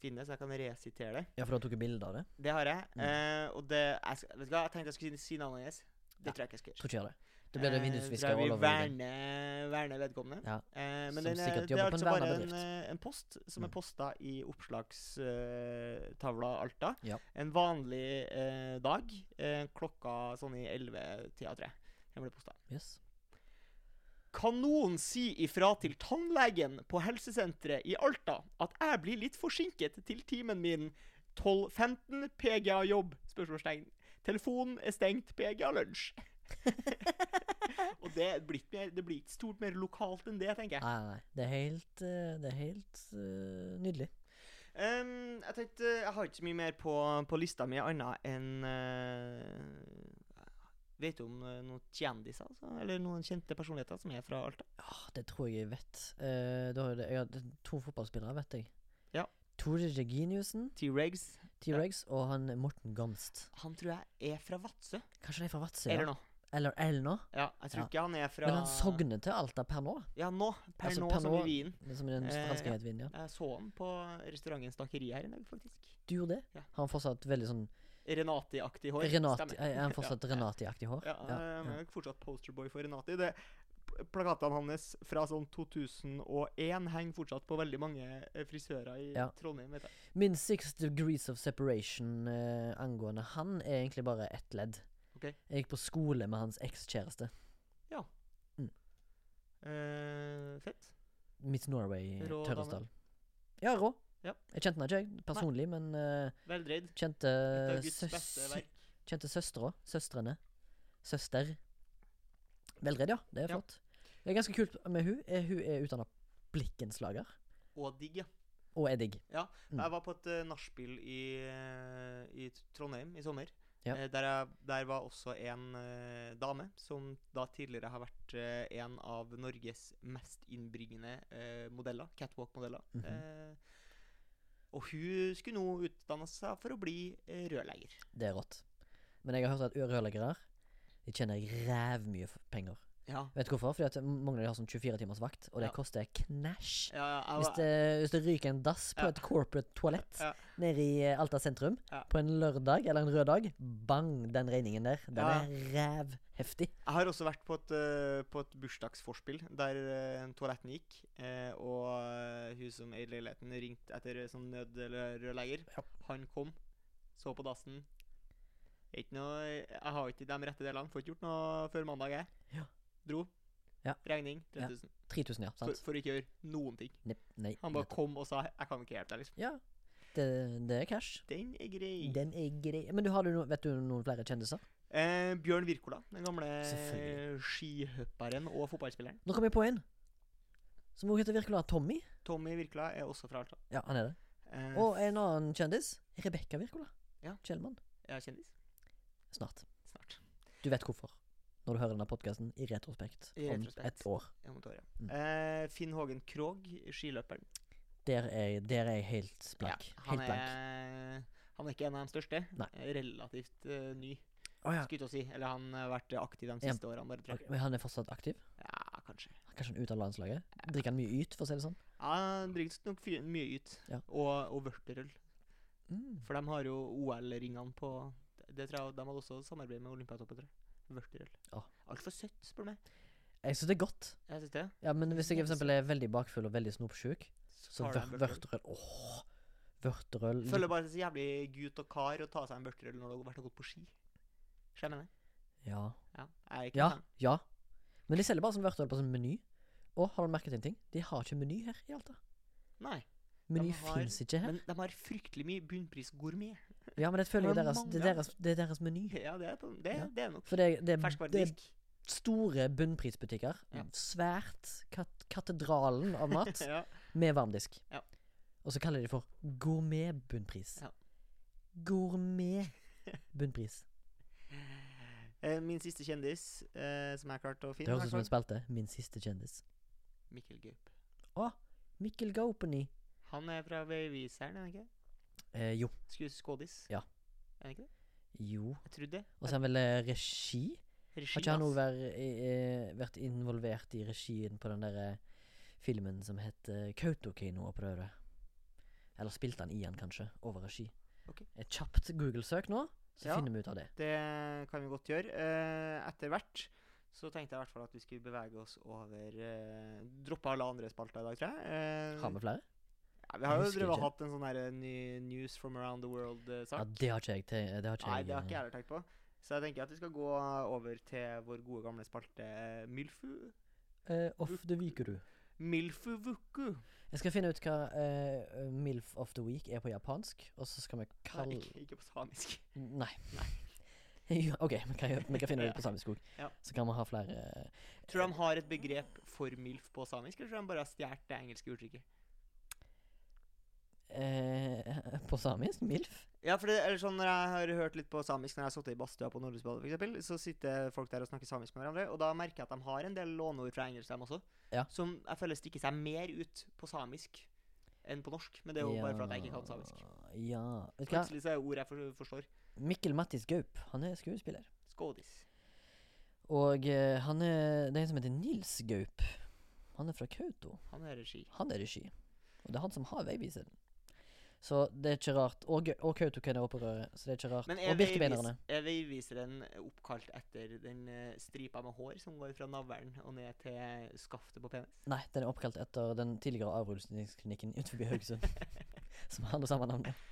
Finne det, så jeg kan resitere det.
Ja, for du har tatt bilde av det?
Det har jeg.
Mm.
Eh, og det jeg, sk- Vet du hva, jeg tenkte jeg skulle si- si navnet hennes. Det
Ja.
tror jeg ikke jeg skal gjøre.
Tror ikke jeg det. Da blir det
Eh,
vindusvisker
tror jeg
all
vi
over deg.
verner verne vedkommende.
Ja.
Eh, men
Som
den, er-
sikkert
det er
jobber på en
altså bare en,
vernebedrift.
eh, en post som
Mm.
er posta i oppslagstavla Alta.
Ja.
En vanlig eh, dag. Eh, klokka sånn i 11-tida, tror jeg. Den ble posta.
Yes.
Kan noen si ifra til tannlegen på helsesenteret i Alta at jeg blir litt forsinket til timen min 12.15 PGA jobb? Spørsmålstegn. Telefonen er stengt PGA lunsj. Og det blir ikke mer- det blir ikke stort mer lokalt enn det, tenker jeg.
Nei, nei. Det er helt, eh, det er helt eh, nydelig.
Ehm, jeg tenkte, jeg har ikke så mye mer på, på lista mi annet enn eh, Vet du om eh, noen kjendiser? Altså? Eller noen kjente personligheter som er fra Alta?
Ja, Ah, det tror jeg jeg vet. Eh, da, har jeg- jeg har to fotballspillere, vet jeg.
Ja.
Tore Reginiussen,
T-Regs.
T-Regs, og han Morten Gamst.
Han tror jeg er fra Vadsø.
Kanskje de er fra Vadsø?
Eller
Ja.
nå.
Eller Elna?
Ja, jeg tror
Ja.
ikke han er fra
Men han sogner til Alta per nå,
Ja, nå. Per
Altså,
nå,
per
som
nå-
i Wien.
som i den
Eh,
franske
ja.
hetvinen. Ja.
Jeg så han på restauranten Stakeri her i dag, faktisk.
Du gjorde det?
Ja.
Har han fortsatt veldig sånn
Renati-aktig hår.
Renati,
stemmer.
er han fortsatt
ja.
Renati-aktig hår?
Ja, eh, han er nok fortsatt posterboy for Renati. Det, p- plakatene hans fra sånn 2001 henger fortsatt på veldig mange eh, frisører i
Ja.
Trondheim. vet jeg.
Min six degrees of separation eh, angående han er egentlig bare ett ledd.
Ok.
Jeg gikk på skole med hans ekskjæreste.
Eh, fett.
Miss Norway i
Rå
Tørresdal. eh, Ja, rå.
Ja.
Jeg kjente henne ikke, jeg, personlig, men eh,
Veldreid.
kjente
Et av Guds beste
søs
verk.
Kjente søstre Søstrene Søster Velredd, ja, det er
Ja.
flott Det er ganske kult med hun er, Hun er utdannet blikkenslager
Og digg, ja.
Og er digg
Ja,
Mm.
jeg var på et uh, nachspiel i, eh, i eh, Trondheim i sommer.
Ja.
Eh, Der, er, der var også en eh, dame som da tidligere har vært eh, en av Norges mest innbringende eh, modeller, catwalk-modeller.
Mhm.
eh, og hun skulle nå utdanne seg for å bli eh, rørlegger.
Det er rått. Men jeg har hørt at rørleggere De tjener ræv mye f- penger.
Ja.
Vet du hvorfor? Fordi at mange av de har sånn 24 timers vakt, og det
Ja.
koster knæsj.
ja, ja jeg,
Hvis det, hvis det ryker en dass på
Ja.
et corporate toalett
Ja.
nede i eh, Alta sentrum
Ja.
på en lørdag eller en rød dag, bang, den regningen der. Den
Ja.
er rævheftig.
Jeg har også vært på et, eh, på et bursdagsforspill der eh, toaletten gikk, eh, og eh, hun som eide leiligheten ringte etter eh, sånn nødrørlegger.
Ja.
Han kom, så på dassen. Ikke noe, jeg har ikke de rette delene, får ikke gjort noe før mandag, jeg.
Ja.
Dro.
Ja.
Regning
Ja,
3000.
3000, ja.
for,
Sant?
for ikke å gjøre noen ting.
Nei, nei,
Han bare
nettopp.
kom og sa 'jeg kan ikke hjelpe deg', liksom.
Ja. Det, det er cash.
Den er grei.
Den er grei. Men du, har du no, vet du noen flere kjendiser?
Eh, Bjørn Wirkola, den gamle
Selvfølgelig.
skihopperen og fotballspilleren.
Nå kom jeg på en som også heter Virkola Tommy.
Tommy Wirkola er også fra Alta.
Ja, han er det.
Eh,
Og en annen kjendis. Rebekka Virkola.
Ja.
Kjellmann.
Jeg er kjendis.
Snart.
Snart.
Du vet hvorfor. Når du hører denne podkasten i retrospekt
I
om
retrospekt.
ett år.
Jeg må ta det.
Mm.
Eh, Finn Hågen Krogh, skiløperen.
Der er, jeg- der er jeg helt blank.
Ja, han,
helt blank.
er, han er ikke en av de største.
Nei.
Eh, Relativt eh, ny,
Å ja.
skulle jeg til å si. Eller han har vært aktiv
Ja.
de siste årene, bare, tror
Ok,
jeg.
men han er fortsatt aktiv?
Ja, kanskje.
Kanskje han er ute av landslaget? Drikker han mye yt, for å si det sånn?
Ja, Han drikker nok fy- mye ut.
Ja.
Og, og vørterøl.
Mm.
For de har jo OL-ringene på Det tror jeg De hadde også samarbeid med Olympiatoppen, tror jeg. Vørterøl.
Ja.
Altfor søtt, spør du meg.
Jeg syns det er godt.
Jeg synes det.
Ja, Men hvis jeg for eksempel er veldig bakfull og veldig snopsjuk, så
tar de
vør-
en vørterøl.
vørterøl Åh, Vørterøl
Føler bare så jævlig gutt og kar å ta seg en vørterøl når du har vært og gått på ski. Skjønner jeg mener?
Ja.
Ja, jeg er ikke
Ja,
fan.
ja. Men de selger bare sånn vørterøl på sånn meny. Og har du merket en ting? De har ikke meny her i Alta.
Nei,
Meny
De har-
fins ikke her.
men de har fryktelig mye bunnpris gourmet.
Ja, men det føler jeg
Men
er deres, det, er
mange-
deres, det er deres meny.
Ja, det er, på, det,
Ja.
det er nok.
For det, det, er- det er
Ferskvaredisk.
store bunnprisbutikker.
Ja.
Svært kat katedralen av mat
Ja.
med varmdisk.
Ja.
Og så kaller de det for gourmetbunnpris.
Ja.
Gourmetbunnpris.
Eh, Min siste kjendis eh, som jeg klarte å
Det
finne,
høres ut som
hvertfall,
en spalte. Min siste kjendis.
Mikkel Gaup.
Å, Mikkel Gaupeny.
Han er fra Veiviseren, er han ikke?
Eh, jo.
Skues- Skådis.
Ja.
Er han ikke det?
Jo.
Jeg trodde det.
Og så er han vel eh, regi.
Regi,
Har ikke han
ass.
òg vært involvert i regien på den der eh, filmen som heter Kautokeino oppe der? ute? Eller spilte han i han, kanskje, over regi?
Ok.
Et kjapt Google-søk nå, så
Ja.
finner vi ut av det.
Det kan vi godt gjøre. Eh, etter hvert så tenkte jeg i hvert fall at vi skulle bevege oss over eh, Droppe alle andre spalter i dag, tror jeg. Eh,
Har vi flere?
Ja, vi har jo
Jeg husker
drevet og
ikke.
hatt en sånn her, eh, ny News from around the eh,
Ja,
world-sak.
det har ikke jeg. Til, det har ikke
Nei,
jeg,
det har ikke
eh,
jeg heller tenkt på. Så jeg tenker at vi skal gå over til vår gode gamle spalte eh, Milfu.
eh, off the week, du.
Milfu vuku.
Jeg skal finne ut hva eh, Milf of the week er på japansk, og så skal vi
Nei,
kalle
ikke, ikke på samisk.
Nei. Jo, OK, vi kan, gjøre- vi kan finne det ut på samisk òg.
Ja.
Så kan vi ha flere eh,
Tror du de har et begrep for milf på samisk, eller tror du de bare har stjålet det engelske uttrykket?
eh, på samisk. Milf.
Ja, for det, eller sånn Når jeg har hørt litt på samisk Når jeg har sittet i badstua på Nordlysbadet, for eksempel så sitter folk der og snakker samisk med hverandre. Og da merker jeg at de har en del låneord fra engelsk, dem også.
Ja.
Som jeg føler stikker seg mer ut på samisk enn på norsk. Men det er jo bare fordi jeg ikke kan samisk.
Ja Vet du hva?
Plutselig så er det ord jeg for, forstår.
Mikkel Mattis Gaup, han er skuespiller.
Skådis.
Og eh, han er Det er en som heter Nils Gaup. Han er fra Kautokeino.
Han er regi.
Han er regi. Og det er han som har Veiviseren. Så det er ikke rart. Og, Gau- og Kautokeino er opprøret, så det er ikke rart.
Men er
Og
veivis-
Birkebeinerne.
er veiviseren oppkalt etter den eh, stripa med hår som går fra navlen og ned til skaftet på penis?
Nei, den er oppkalt etter den tidligere avrullingsklinikken utenfor Haugesund. som har det samme navnet.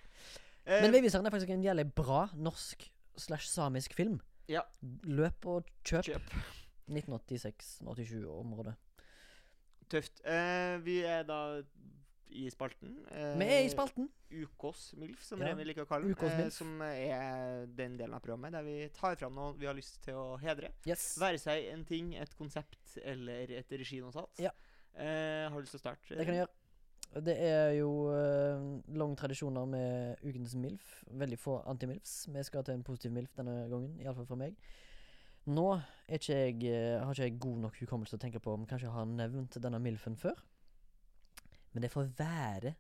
Eh,
Men Veiviseren er faktisk en jævlig bra norsk slash samisk film.
Ja.
Løp og kjøp.
kjøp.
1986-87-området.
Tøft. Eh, vi er da i spalten. eh,
Vi er i spalten.
UKs MILF, som
Ja,
Remi liker å kalle den.
UKs
Eh,
MILF.
som er den delen av programmet der vi tar fram noe vi har lyst til å hedre.
Yes.
Være seg en ting, et konsept eller et reginotat.
Ja.
Eh, har du lyst til å starte?
Det kan jeg gjøre. Det er jo uh, lang tradisjoner med ukens MILF. Veldig få anti-MILFs. Vi skal til en positiv MILF denne gangen, iallfall for meg. Nå er ikke jeg, eh, har ikke jeg god nok hukommelse til å tenke på om kanskje jeg har nevnt denne MILF-en før. Men det får være.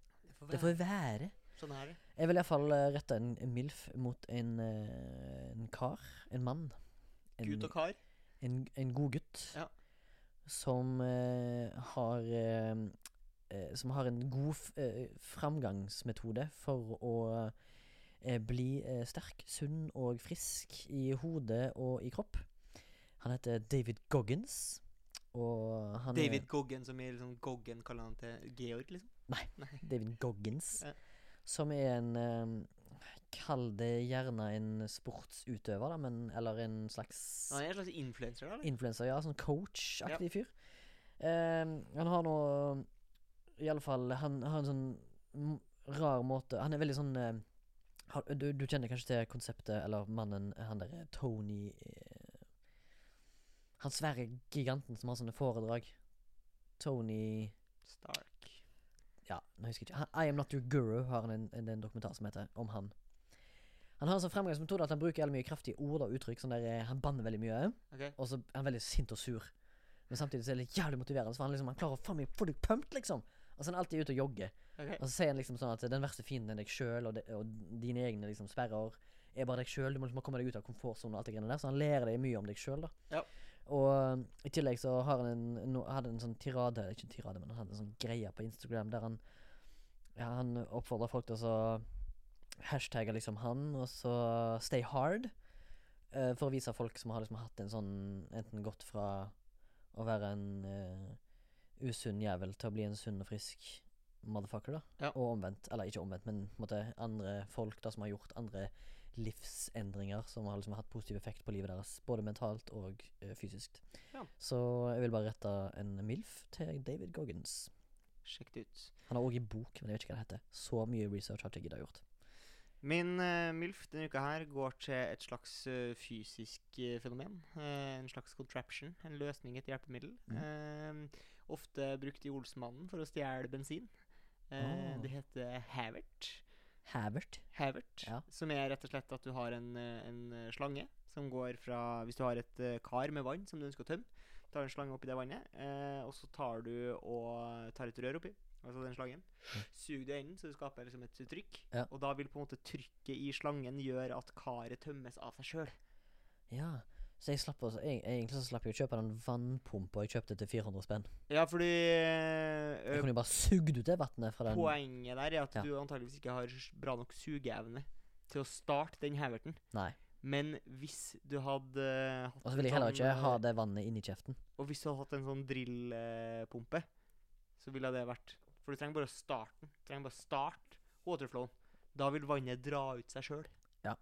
Det får være.
Sånn er det.
Jeg vil iallfall eh, rette en en MILF mot en, eh, en kar. En mann. En,
Gutt og kar.
en, en god gutt
Ja.
som eh, har eh, eh, Som har en god f eh, framgangsmetode for å eh, bli eh, sterk, sunn og frisk i hodet og i kropp. Han heter David Goggins, og han
David Goggen, som er liksom Goggen kaller han til Georg, liksom.
er David Goggins.
Ja.
Som er en eh, Kall det gjerne en sportsutøver, da, men Eller en slags
Han er en slags influenser, da? eller?
Influencer, ja. Sånn coach-aktig fyr. Ehm, han har nå I alle fall Han har en sånn m- rar måte Han er veldig sånn eh, har- du, du kjenner kanskje til konseptet, eller mannen, han derre Tony eh, Han svære giganten som har sånne foredrag. Tony
Stark.
ja, nå husker jeg ikke. Han- I Am Not Your Guru har han en, en, en dokumentar som heter om han. Han har en sånn fremgangsmetode at han bruker jævlig mye kraftige ord og uttrykk. Sånn der, eh, han banner veldig mye,
Ok.
og så er han veldig sint og sur. Men samtidig så er det jævlig motiverende, for han, liksom, han klarer å faen meg få deg pumped, liksom. Og så er han alltid ute og jogger.
ok
Og så sier han liksom sånn at den verste fienden er deg sjøl, og, de- og dine egne liksom sperrer er bare deg sjøl. Du må liksom komme deg ut av komfortsonen og alt det greiene der. Så han lærer deg mye om deg sjøl, da.
Ja.
Og um, i tillegg så har han en, no, hadde en sånn tirade, ikke en tirade, men han hadde en sånn greie på Instagram der han ja, Han oppfordrer folk til å så hashtagge liksom han, og så stay hard. eh, for å vise folk som har liksom hatt en sånn Enten gått fra å være en eh, usunn jævel til å bli en sunn og frisk motherfucker, da.
Ja.
Og omvendt. Eller ikke omvendt, men på en måte andre folk da som har gjort andre livsendringer som har liksom hatt positiv effekt på livet deres. Både mentalt og eh, fysisk.
Ja.
Så jeg vil bare rette en MILF til David Goggins.
Sjekk det ut.
Han har òg i bok, men jeg vet ikke hva det heter. Så mye research har ikke jeg giddet å gjort.
Min eh, MILF denne uka her går til et slags eh, fysisk eh, fenomen. Eh, en slags contraption. En løsning, et hjelpemiddel. Eh, ofte brukt i Olsmannen for å stjele bensin. Eh,
Ah.
Det heter Havert.
Havert.
Havert,
Ja.
som er rett og slett at du har en, eh, en eh, slange som går fra Hvis du har et eh, kar med vann som du ønsker å tømme, tar en slange oppi det vannet, eh, og så tar du og tar et rør oppi, altså den slangen. Suger du i enden, så du skaper liksom et trykk,
Ja.
og da vil på en måte trykket i slangen gjøre at karet tømmes av seg sjøl.
Ja. Så jeg slapp også, jeg, jeg, egentlig så slapp jeg å kjøpe den vannpumpa jeg kjøpte til 400 spenn.
Ja, fordi eh,
Jeg kunne jo bare sugd ut det vannet fra den.
Poenget der er at
Ja.
du antageligvis ikke har bra nok sugeevne til å starte den heverten.
Nei.
Men hvis du hadde eh, hatt
Og så vil jeg
en
heller
sånn,
ikke
eh,
ha det vannet inni kjeften.
Og hvis du hadde hatt en sånn drillpumpe, så ville det vært For du trenger bare starten. Du trenger bare start waterflowen. Da vil vannet dra ut seg sjøl.
Ja.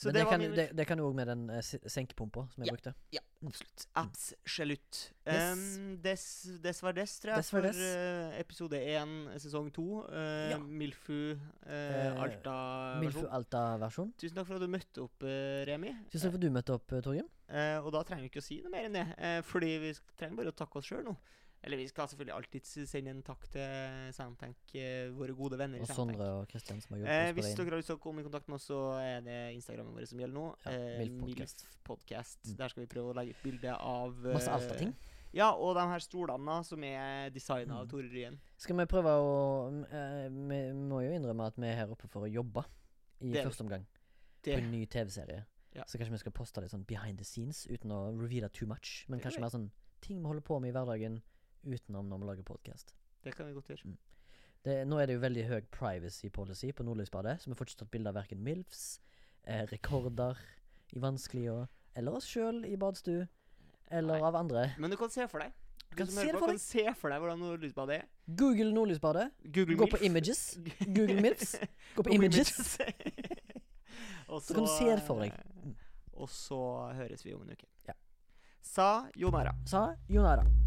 Så
Men
det,
det,
var
kan,
min
det, det kan jo òg med den eh, se- senkepumpa som jeg
Ja.
brukte.
Ja, absolutt. Absolutt.
Yes.
Um, des, desverdes, tror jeg,
Des var des.
for eh, episode én, sesong to. eh,
Ja.
Milfu eh,
Eh, Milfu
Alta-versjon.
Alta-versjon.
Tusen takk for at du møtte opp, eh, Remi.
Tusen takk for at du møtte opp, eh, Torgrim.
Eh, og da trenger vi ikke å si noe mer enn det, eh, fordi vi sk- trenger bare å takke oss sjøl nå. Eller vi skal selvfølgelig alltid s- sende en takk til Soundtank, eh, våre gode venner i
Og
Soundtank.
Sondre og Kristian som har
Eh,
hjulpet oss
hvis
på
dere
veien.
har lyst til å komme i kontakt med oss, så er det Instagrammen vår som gjelder nå.
Ja,
eh,
Milf Podcast. Mm.
Milf Podcast. Der skal vi prøve å legge ut bilde av eh,
Masse Alta-ting.
Ja, og de her stolene da, som er designa av
Mm.
Tore Ryen.
Skal vi prøve å eh, Vi må jo innrømme at vi er her oppe for å jobbe i
Det er vi.
første omgang. På en
Det,
ny TV-serie.
Ja.
Så kanskje vi skal poste litt sånn behind the scenes uten å reveale too much. Men
Det er
kanskje
greit.
mer sånn ting vi holder på med i hverdagen utenom når vi lager podkast.
det kan vi godt gjøre.
Det, nå er det jo veldig høy privacy policy på Nordlysbadet, så vi får ikke tatt bilde av verken MILFs, eh, rekorder i vanskelige år, eller oss sjøl i badstue, eller
Nei.
av andre.
Men du kan se for deg. Du
Kan
som
se
hører
det
på,
for
kan
deg.
se for deg hvordan Nordlysbadet er.
Google Nordlysbadet.
Google
Gå på
Milf.
images. Google MILFs. Gå på images.
og
Så kan du se det for deg. Mm.
Og så høres vi om en uke.
Ja.
Sa Jonara.
Sa Jon Ara.